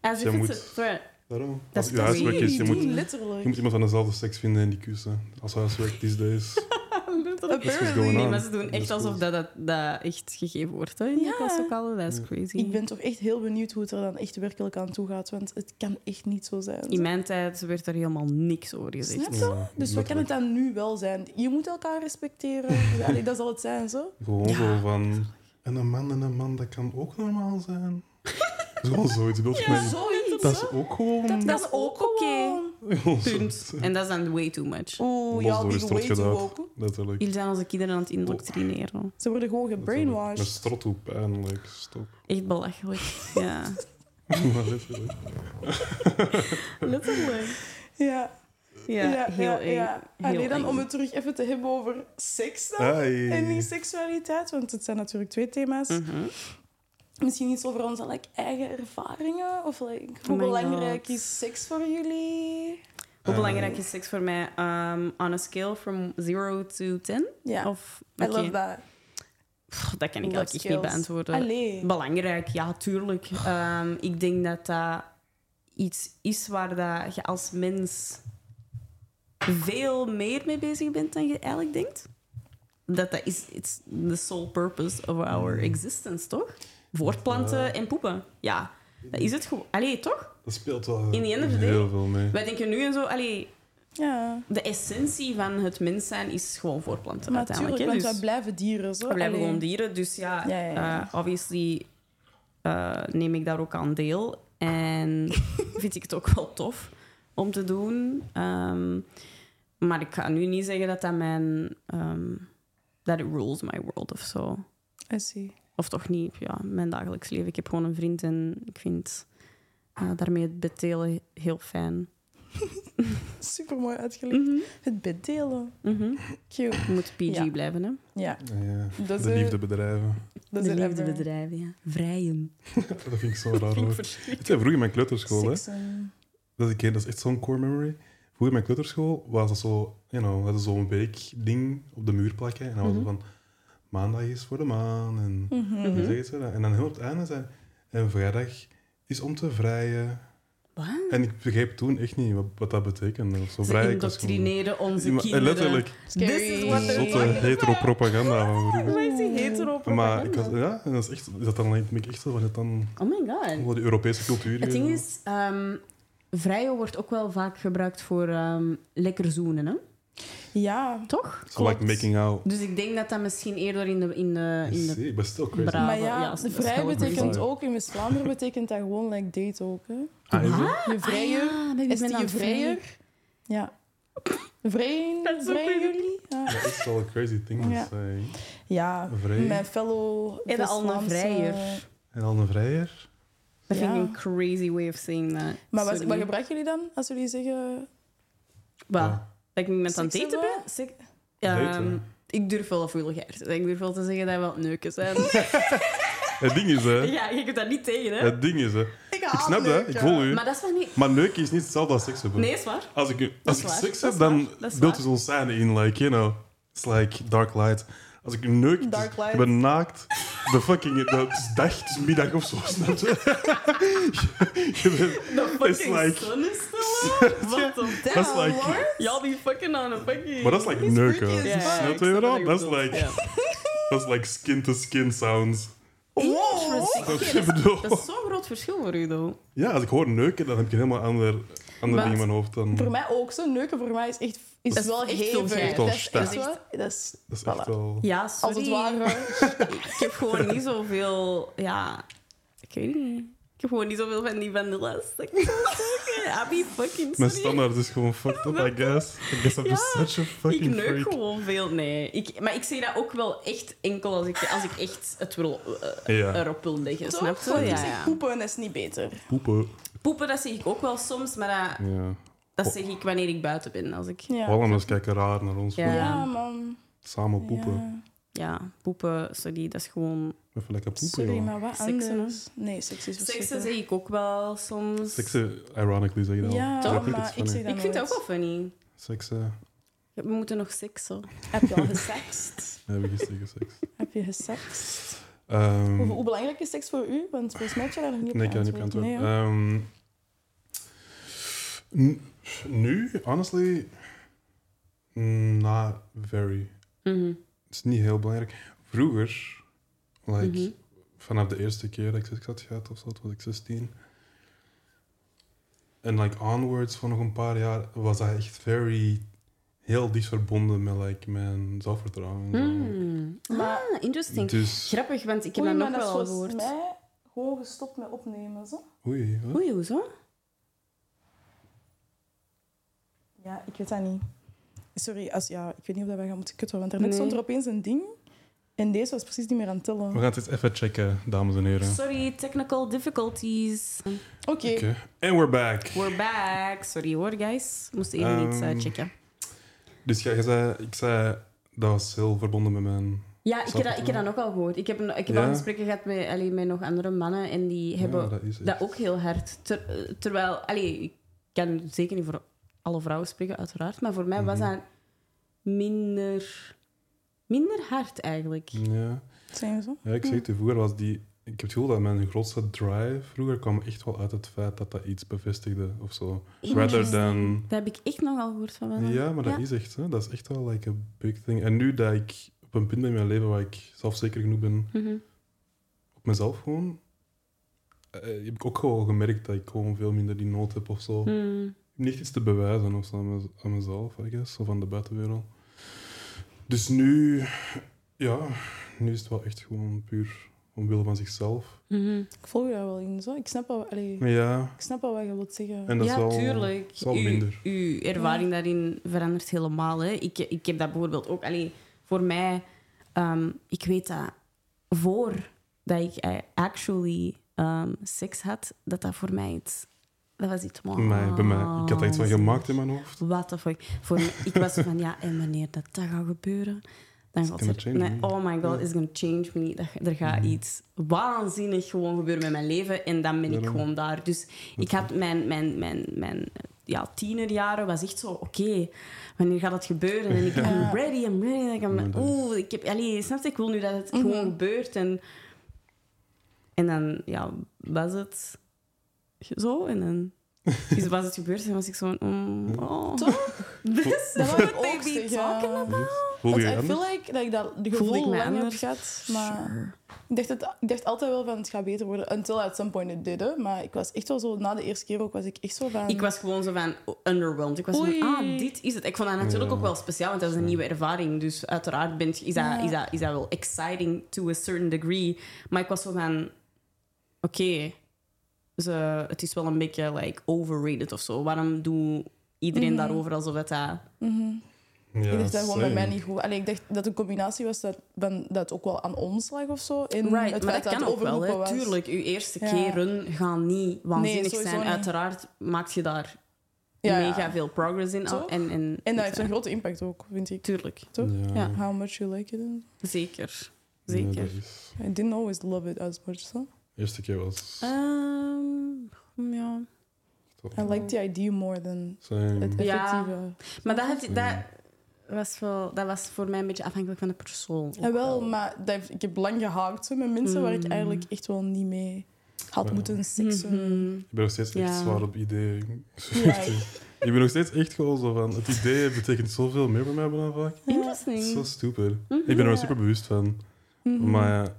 B: As
C: Jij
B: if
C: moet-
B: it's a threat.
C: Daarom.
B: Dat
C: Als
B: is
C: je
B: toch
C: huiswerk is, je
A: Die
B: weird?
C: moet,
A: doen
C: je
A: letterlijk.
C: moet iemand van dezelfde seks vinden en die kussen. Als huiswerk these days. what's going
B: Apparently. Nee,
C: on.
B: maar ze doen
C: Dat
B: echt
C: is
B: alsof
C: goed.
B: dat, dat, dat echt gegeven wordt hè, in
A: Ja.
B: de klaslokalen. Dat is
C: Ja.
B: crazy.
A: Ik ben toch echt heel benieuwd hoe het er dan echt werkelijk aan toe gaat. Want het kan echt niet zo zijn.
B: In mijn tijd werd er helemaal niks over gezegd.
A: Snap je?
C: Ja,
A: Dus wat kan het
C: letterlijk.
A: dan nu wel zijn? Je moet elkaar respecteren. Ja, allee, dat zal het zijn, zo.
C: Gewoon
B: Ja,
C: zo van... En een man en een man, dat kan ook normaal zijn. Dat is gewoon zoiets. beeld van mij.
A: Zoiets,
C: Dat
A: hè?
C: is ook gewoon...
A: Dat,
B: Dat
A: is
B: is
A: ook
B: ook
A: oké.
C: Gewoon
B: Punt.
C: zoiets.
B: En dat is dan way too much.
A: Oeh,
C: Bos
A: ja,
C: door de
A: die
C: strot
A: way too
C: gedaan.
A: woke.
C: Letterlijk.
B: Jullie zijn onze kinderen aan het indoctrineren.
A: Ze worden gewoon
C: Letterlijk. Met
A: gebrainwashed.
C: strothoep en like, stop.
B: Echt belachelijk. Ja.
C: Maar letterlijk.
B: Letterlijk.
A: Ja,
B: Ja, heel
A: ja,
B: eng.
A: ja.
B: Heel
A: Allee, dan
B: eng.
A: om het terug even te hebben over seks dan.
C: Ai.
A: En die seksualiteit, want het zijn natuurlijk twee thema's.
B: Mhm.
A: Misschien iets over onze like, eigen ervaringen. Of like, hoe
B: Oh my
A: belangrijk
B: God.
A: is seks voor jullie?
B: Hoe
C: Eh,
B: belangrijk is seks voor mij? Um, on a scale from 0 to 10?
A: Ja,
B: Of,
A: I love
B: Oh, oké.
A: that.
B: Pff, dat kan ik
A: Love
B: eigenlijk echt niet
A: skills.
B: beantwoorden.
A: Allee.
B: Belangrijk, ja, tuurlijk. Ehm, ik denk dat dat iets is waar dat je als mens veel meer mee bezig bent dan je eigenlijk denkt. Dat dat is it's the sole purpose of our existence, toch? Voortplanten
C: Ja.
B: en poepen. Ja, dat is het gewoon. Allee, toch?
C: Dat speelt wel
B: In the end of the day.
C: heel veel mee.
B: Wij denken nu en zo, allee,
A: Ja,
B: de essentie van het mens zijn is gewoon voortplanten
A: maar
B: uiteindelijk.
A: natuurlijk, want
B: hè. Dus-
A: wij blijven dieren. Zo.
B: We blijven
A: Allee.
B: gewoon dieren, dus ja,
A: Ja, ja, ja.
B: eh, obviously eh, neem ik daar ook aan deel. En vind ik het ook wel tof om te doen. Ehm, maar ik ga nu niet zeggen dat dat mijn... ehm dat it rules my world of zo.
A: I see.
B: Of toch niet, ja, mijn dagelijks leven. Ik heb gewoon een vriend en ik vind eh, daarmee het betelen heel fijn.
A: Super mooi uitgelegd.
B: Mhm,
A: Het bed delen.
B: mhm.
A: Cute.
B: Je moet PG
A: Ja.
B: blijven, hè.
A: Ja,
C: Ja,
A: Dat
C: de
A: is, eh,
C: liefdebedrijven.
A: dat is
B: De
A: een
B: liefde bedrijven, ja. Vrijen.
C: dat vind ik zo raar hoor. Ik zei vroeger in mijn kleuterschool, hè. Dat, ik, dat is echt zo'n core memory. Vroeger in mijn kleuterschool was dat zo, you know, dat is zo'n weekding op de muur plakken. En dan was het van, maandag is voor de maan. En,
A: Mhm.
C: dan zeggen ze dat. en dan heel op het einde zei, en vrijdag is om te vrijen.
B: Wat?
C: En ik begreep toen echt niet wat, wat dat betekende. Zo
B: Ze
C: vrij, ik was gewoon-
B: indoctrineren onze
C: Ja, maar- eh,
B: kinderen.
C: Letterlijk,
B: This is what they're
C: zotte heteropropaganda van vroeger.
B: Wij zijn hetero
C: Maar ik was, ja, en dat is echt, is dat dan, ben ik echt zo van het dan,
B: Oh my god.
C: hoe de Europese cultuur.
B: Het
C: eh,
B: ding is, ehm vrijen wordt ook wel vaak gebruikt voor ehm, lekker zoenen, hè?
A: Ja,
B: toch?
C: zo like making out.
B: Dus ik denk dat dat misschien eerder in de... In de, in de...
C: See, but still crazy.
B: Bra-
A: maar
B: Ja,
A: ja,
B: ja, dat
A: de
B: is
A: vrij
B: wel een
A: betekent
C: reason.
A: ook, in West-Vlaanderen betekent dat gewoon like date ook. Hè.
C: Ah, is het?
A: Je vrijer,
B: Ah ja, baby, ik
A: is
B: ben
A: die
B: aan
A: je
B: het vrijen.
A: vrijer? Ja. Vrijen,
B: Dat is zo
A: vrijen
B: crazy.
A: jullie? Ja.
C: Dat is eh, wel een crazy thing to
A: Ja.
C: say.
A: ja,
C: Vrij.
A: mijn fellow
B: En al een
A: West-Vlaamse-
B: vrijer.
C: En dan een vrijer.
B: Dat vind
A: Ja.
B: ik een crazy way of saying that.
A: Maar wat,
B: Sorry.
A: wat gebruiken jullie dan als jullie zeggen...
B: Wat?
C: Ja.
B: Dat ik met aan het
A: Seks
B: daten
A: hebben?
B: ben? Sek-
C: Daten.
B: Ehm, ik durf wel afwilligheid. Ik durf wel te zeggen dat we aan het neuken zijn.
C: Het ding is, hè.
B: ja, je kunt daar niet tegen, hè?
C: Het ding is, hè.
A: Ik ga
C: Ik snap dat, ik voel u.
B: Maar dat is wel niet...
C: Maar neuken is niet hetzelfde als seks hebben.
B: Nee, is waar.
C: Als ik,
B: Dat
C: als
B: is
C: ik
B: waar,
C: seks
B: dat
C: heb,
B: is
C: dan
B: waar, dat is
C: beeld
B: waar.
C: is ontzijn in, like, you know. It's like dark light. Als ik neuk,
A: Dark
C: dus,
A: light.
C: ik ben naakt. De fucking, dat het is dag, het is middag of zo, snap je? Je bent-
B: De fucking
C: like-
B: sun is still up. What the fuck?
C: dat is like,
B: Y'all be fucking on a fucking...
C: maar dat is like
A: It's
C: neuken.
A: freaky as fuck.
C: Snap je wat ik bedoel? Dat is like, dat is like skin-to-skin sounds.
A: Wow.
C: Dat is-
B: Interesting.
C: ik bedoel-
B: Dat is zo'n groot verschil voor u, though.
C: Ja, als ik hoor neuken, dan heb ik een helemaal ander, ander
B: Maar-
C: ding in mijn hoofd dan...
A: Voor mij ook. Zo'n neuken voor mij is echt... Is
B: Dat is
A: wel
B: echt veel
A: hevig.
B: gek.
A: Dat
C: Echt
A: is
C: wel
A: echt
B: sterk.
A: wel... Dat is...
C: Dat is
A: Voilà.
C: echt wel...
B: Ja, sorry.
A: Als het ware...
B: Ik heb gewoon niet zoveel... Ja, ik weet niet. Ik heb gewoon niet zoveel van die vanillas. Ik be fucking sorry.
C: Mijn standaard is gewoon fucked up, I guess. I guess I'm just
B: Ja,
C: such a fucking
B: ik neuk
C: freak.
B: gewoon veel, nee. Ik, maar ik zeg dat ook wel echt enkel als ik, als ik echt het wil, eh,
C: Ja.
B: erop wil leggen,
A: Toch?
B: snap je?
A: Want ik
B: Ja,
A: zeg
B: ja.
A: poepen is niet beter.
C: Poepen.
B: Poepen, dat zeg ik ook wel soms, maar dat,
C: Ja.
B: dat zeg ik wanneer ik buiten ben. Als ik,
A: Ja,
C: Hollanders kijken raar naar ons.
B: Ja.
A: Ja, man.
C: Samen poepen.
A: Ja.
B: ja, poepen, sorry, dat is gewoon...
C: Even lekker poepen,
A: Sorry,
C: joh.
A: maar wat
B: Seksen,
A: anders? Nee, seks is
B: Seksen
A: verschrikkelijk.
B: zeg ik ook wel soms.
C: Seksen, ironically zeg je dat al.
A: Ja,
C: Dus I think
A: maar
C: it's
A: ik
C: funny.
A: zeg dat
B: Ik vind dat
A: nooit.
B: ook wel funny.
C: Seksen,
B: We moeten nog seksen.
A: Heb je al gesext?
C: we hebben gisteren geseks.
A: Heb je gesext?
C: Ehm,
A: Hoe, hoe belangrijk is seks voor u? Want volgens mij heb je daar nog niet op
C: nee, ik kan niet op
A: geantwoord.
C: antwoorden.
A: Nee,
C: Ehm, n- nu, honestly, mm, not very.
B: Mhm.
C: Het is niet heel belangrijk. Vroeger, like,
B: Mhm.
C: vanaf de eerste keer dat ik seks had gehad of zo, toen was ik 16. En like onwards voor nog een paar jaar was dat echt very, heel dicht verbonden met like, mijn zelfvertrouwen. en zo.
B: Hmm.
C: Eh.
A: Maar-
B: Ah, interesting.
C: Dus,
B: Grappig, want ik
A: hoor.
B: heb
A: Oei,
B: dat
A: maar
B: nog
A: dat is
B: wel
A: volgens
B: gehoord.
A: mij gewoon gestopt met opnemen, zo.
C: oei, wat?
B: Oei, hoezo?
A: Ja, ik weet dat niet. Sorry, als, ja, ik weet niet of dat wij gaan moeten kutten, want daarnet
B: Nee.
A: stond er opeens een ding en deze was precies niet meer aan het tellen.
C: We gaan het eens even checken, dames en heren.
B: Sorry, technical difficulties.
A: Oké,
C: Oké, and we're back.
B: We're back. Sorry hoor, guys. Moest even iets eh,
C: Ehm,
B: checken.
C: Dus jij jij zei, ik zei, dat was heel verbonden met mijn...
B: Ja, ik heb, dat, ik heb dat ook al gehoord. Ik heb, een- ik heb
C: Ja.
B: al gesprekken gehad met, allee, met nog andere mannen en die hebben
C: Ja, dat is echt.
B: dat ook heel hard. Ter- eh, terwijl, allee, ik kan zeker niet voor alle vrouwen spreken, uiteraard, maar voor mij
C: Mhm.
B: was dat minder, minder hard eigenlijk.
C: Ja.
A: zijn we zo?
C: Ja, ik zeg het u, vroeger was die... Ik heb het gevoel dat mijn grootste drive vroeger kwam echt wel uit het feit dat dat iets bevestigde of zo. Rather than...
B: Dat heb ik echt nogal gehoord van mannen.
C: Ja, maar dat is echt, hè. dat is echt wel like a big thing. En nu dat ik op een punt ben in mijn leven waar ik zelfzeker genoeg ben
B: Mhm.
C: op mezelf gewoon, eh, heb ik ook gewoon gemerkt dat ik gewoon veel minder die nood heb of zo.
B: Hmm.
C: niet iets te bewijzen of zo aan, mez- aan mezelf, I guess, of aan de buitenwereld. Dus nu, ja, nu is het wel echt gewoon puur omwille van zichzelf.
B: Mhm.
A: Ik volg je daar wel in, zo. Ik snap al, allee,
C: Maar ja,
A: ik snap al wat je wilt zeggen.
C: en dat
B: ja,
C: is wel,
B: tuurlijk.
C: is wel
B: Uw-
C: minder.
B: Uw ervaring daarin verandert helemaal. Hè. Ik, ik heb dat bijvoorbeeld ook. Allee, voor mij, ehm, ik weet dat voordat ik eh, actually ehm, seks had, dat dat voor mij iets. Dat was iets mooi. Ah.
C: Mij, bij mij, ik had daar
A: Ah,
C: iets van gemaakt in mijn hoofd.
B: What the fuck. Voor mij- ik was zo van, ja, en wanneer dat, dat gaat gebeuren, dan gaat
C: gonna
B: er...
C: change
B: nee,
C: me.
B: oh my god,
C: Ja. Mhm.
B: it's gonna change me. Dat, er gaat iets waanzinnig gewoon gebeuren met mijn leven. En dan ben ik
C: Daarom.
B: gewoon daar. Dus ik had mijn, mijn, mijn, mijn ja, tienerjaren was echt zo, oké, wanneer gaat dat gebeuren? En ik ben ready, I'm ready. En ik
C: Maar
B: ben,
C: dat is-
B: oeh, ik heb... Allee, snap je? Ik wil nu dat het
A: Mhm.
B: gewoon gebeurt. En, en dan, ja, was het zo. En dan... Dus was het gebeurd en was ik zo van...
C: Hm.
B: mm, oh. This is
A: Dat
B: what
A: wou ik
B: they
A: ook
B: be
A: zeggen.
B: talking about.
C: Voel
A: Want
C: je
A: ik
C: anders?
A: voel like dat ik dat de
B: Voelde ik
A: gevoel
B: me
A: lang heb
B: anders?
A: gehad, maar... Ik dacht, het, ik dacht altijd wel van het gaat beter worden, until at some point it did. hè. Maar ik was echt wel zo, na de eerste keer ook, was ik echt zo van...
B: Ik was gewoon zo van underwhelmed. Ik was
A: Oei.
B: van, ah, dit is het. Ik vond dat natuurlijk
C: Ja.
B: ook wel speciaal, want dat is een nieuwe ervaring. Dus uiteraard bent, is, dat,
A: Ja.
B: is, dat, is dat wel exciting to a certain degree. Maar ik was zo van, oké, ze- het is wel een beetje like, overrated of zo. Waarom doet iedereen
A: Mhm.
B: daarover alsof dat... dat
A: Mhm.
C: Ja,
A: ik dacht dat gewoon bij
C: same.
A: mij niet goed. Allee, ik dacht dat het een combinatie was dat, van, dat het ook wel aan ons lag of zo. In het
B: Right, maar
A: feit
B: dat kan
A: het
B: ook wel,
A: overroepen
B: hè.
A: was.
B: Tuurlijk, uw eerste
A: Ja.
B: keren gaan niet waanzinnig
A: sowieso
B: zijn.
A: niet.
B: Uiteraard maak je daar
A: Ja, ja.
B: mega veel progress in.
A: Toch?
B: En, en,
A: En dat heeft een grote impact ook, vind ik.
B: Tuurlijk,
A: Toch?
C: Ja,
B: Ja.
A: How much you like it.
B: zeker.
C: Ja,
B: Zeker.
C: dat is-
A: I didn't always love it as much, so.
C: eerste keer was.
A: Ah,
B: Ehm, ja.
C: dat-
A: I like the idea more than
C: Same.
A: het
B: Ja.
A: effectieve.
B: Maar dat, heb je- dat,
C: Ja.
B: was wel, dat was voor mij een beetje afhankelijk van de persoon. ook
A: Ja, Ah, wel,
B: wel. Mm.
A: maar dat, ik heb lang gehaakt zo, met mensen waar ik eigenlijk echt wel niet mee had
C: Ja.
A: moeten seksen.
B: Mhm.
C: Ik ben nog steeds echt
B: Ja.
C: zwaar op ideeën.
A: Ja.
C: ik ben nog steeds echt gewoon zo van... Het idee betekent zoveel meer bij mij dan vaak.
A: Mm-hmm.
C: Het is zo
B: Interesting. Mhm.
C: stupid. Ik ben er
A: Ja.
C: wel super bewust van.
A: Mhm.
C: Maar ja...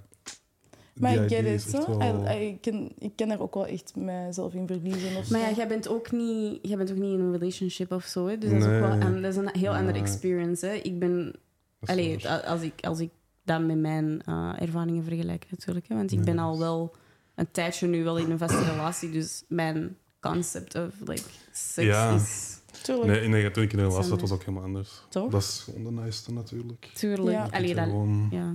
A: Maar
C: die
A: ik get
C: idee
A: it,
C: is echt
A: zo.
C: wel-
A: I- I- ik ken, ik ken er ook wel echt mezelf in verliezen. Of
B: Maar ja,
A: zo.
B: jij bent ook niet, jij bent ook niet in een relationship of zo. Hè? Dus dat is
C: Nee.
B: ook wel an- dat is een heel andere
C: Nee.
B: experience. Hè? Ik ben,
C: dat is
B: allee,
C: waar.
B: a- als ik, als ik dat met mijn eh, ervaringen vergelijk natuurlijk. Hè? Want ik
C: Nee,
B: ben
C: dat
B: al
C: is-
B: wel een tijdje nu wel in een vaste relatie. Dus mijn concept of like, seks
C: Ja.
B: is
A: Tuurlijk.
C: Nee, nee, toen ik in de laatste zat,
B: Samen.
C: was ook helemaal anders.
B: toch?
C: Dat is gewoon de naaiste natuurlijk.
B: Tuurlijk.
A: Ja.
B: Allee,
C: je, kunt
B: dan,
C: gewoon,
B: ja.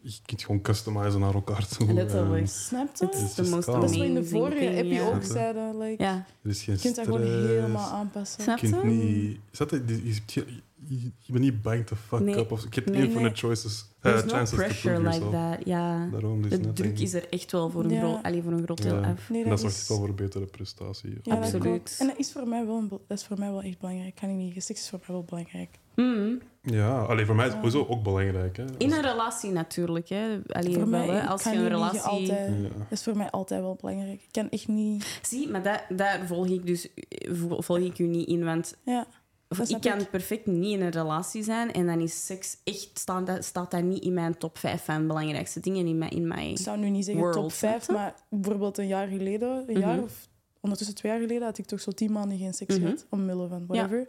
C: je kunt gewoon customizen naar elkaar toe. ehm,
B: Letterlijk.
A: Snap je?
B: Het
C: is dus
B: is
C: just
B: de most
C: calm.
A: Dat is wat
B: amazing
A: in de vorige
B: thing,
A: heb je
B: ja.
A: ook zeiden. Like,
B: Ja,
C: En Er is geen
A: Je kunt dat gewoon
C: stress.
A: helemaal aanpassen.
B: snap
C: Je kunt
B: je?
C: niet... Zat dat- je, je, je- je bent niet bang to fuck
B: Nee.
C: up. Of, je hebt
B: Nee,
C: infinite
A: nee.
C: choices. eh,
B: There's no
C: chances to
B: pressure
C: prove
B: like
C: yourself.
B: that. Ja.
C: Daarom, dus
B: De druk is er echt wel voor een,
A: Ja.
B: groot, allee, voor een groot deel
C: Ja.
B: af.
A: Nee,
C: En dat zorgt wel voor een betere prestatie.
A: Ja, dat
B: Absoluut.
A: klopt. En dat is, voor mij wel, een bel- dat is voor mij wel echt belangrijk. Kan ik niet. Seks is voor mij wel belangrijk.
B: Mm.
C: Ja, alleen voor mij is het sowieso ook belangrijk. Hè.
B: In een
C: Als-
B: relatie natuurlijk. Hè. Allee,
A: voor
B: wel,
A: mij,
B: hè.
A: ik
B: Als je
A: kan
B: een
A: niet liegen,
B: relatie...
A: altijd-
C: Ja.
A: Dat is voor mij altijd wel belangrijk. Ik kan echt niet...
B: Zie, maar daar- daar volg ik dus eh, vo- volg ik u niet in. Want
A: Ja.
B: of
A: Dat
B: ik
A: snap
B: kan
A: ik.
B: perfect niet in een relatie zijn. En dan is seks echt... Staat dat, staat dat niet in mijn top 5 van belangrijkste dingen in mijn... In mijn...
A: Ik zou nu niet zeggen top
B: World, snap
A: 5,
B: je?
A: maar bijvoorbeeld een jaar geleden, een jaar
B: Mhm.
A: of ondertussen twee jaar geleden, had ik toch zo tien maanden geen seks
B: Mhm.
A: gehad, omwille van whatever.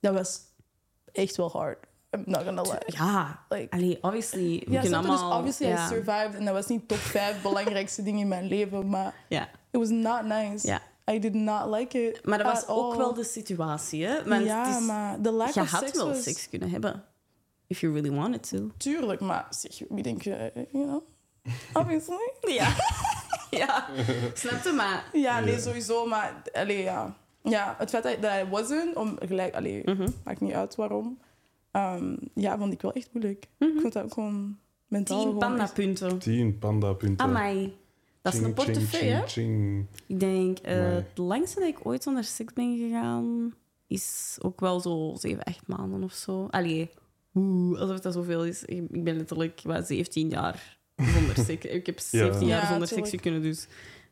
A: Dat was echt wel hard. I'm not gonna lie.
B: Ja,
A: Like,
B: allee, obviously. We
A: ja,
B: kunnen
A: snap je?
B: allemaal...
A: Dus obviously
B: ja.
A: I survived en dat was niet top 5 belangrijkste dingen in mijn leven, maar
B: Ja.
A: it was not nice.
B: Ja.
A: I did not like it.
B: Maar dat was
A: at
B: ook
A: all.
B: wel de situatie, hè? Want
A: Ah, oh. ja,
B: het is-
A: maar de lack
B: je
A: of
B: had
A: sex
B: wel
A: was-
B: seks kunnen hebben. If you really wanted to.
A: Tuurlijk, maar zeg, wie denk je, eh, you know? Obviously.
B: Ja. ja. Snap je? Maar
A: Ja, nee,
C: Ja.
A: sowieso, maar allee, ja. ja. Het feit dat dat hij wasn't, om gelijk, allee, maakt niet uit waarom. Ehm, ja, vond ik wel echt moeilijk.
B: Mhm.
A: Ik vond dat ook gewoon mentaal.
B: tien
A: gewoon echt-
B: pandapunten.
C: Tien panda-punten.
B: Amai. Dat is
C: Ching,
B: een portefeuille, hè?
C: ching, ching,
B: Ik denk, eh,
C: Amai.
B: het langste dat ik ooit zonder seks ben gegaan, is ook wel zo zeven, acht maanden of zo. Allee, oeh, alsof dat zoveel is. Ik, ik ben letterlijk wat, 17 jaar zonder seks. Ik heb 17 jaar
A: Ja,
B: zonder
A: tuurlijk.
B: seks kunnen, dus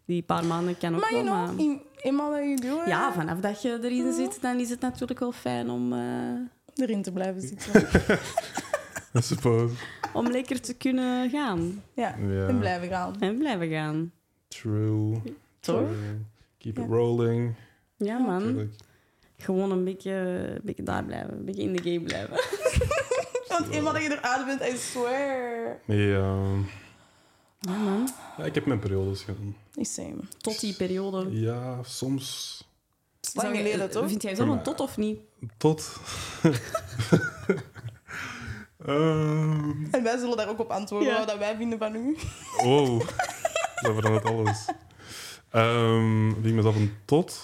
B: die paar maanden kan ook
A: Maar
B: wel.
A: you know,
B: maar...
A: in- eenmaal dat je doet,
B: Ja, vanaf dat je erin zit, dan is het natuurlijk wel fijn om, eh,
A: erin te blijven zitten.
C: ching. I suppose.
B: om lekker te kunnen gaan
A: ja,
C: Ja.
A: en blijven gaan.
B: en blijven gaan.
C: True.
B: Toch? Mm.
C: True. Keep
A: Ja.
C: it rolling.
B: Ja, man.
C: Tuurlijk.
B: Gewoon een beetje, een beetje daar blijven, een beetje in de game blijven.
A: Want eenmaal dat je eruit bent, I swear.
C: Ja.
B: Ja, man.
C: Ja, eh, ik heb mijn periodes gedaan.
A: Is same.
B: Tot die periode.
C: Ja, soms
A: Is lang geleden, toch?
B: Vind jij zo'n tot of niet?
C: tot... Ehm,
A: En wij zullen daar ook op antwoorden
B: Ja.
A: wat dat wij vinden van u.
C: Wow, dat verandert alles. Ehm wie ik mezelf een tot?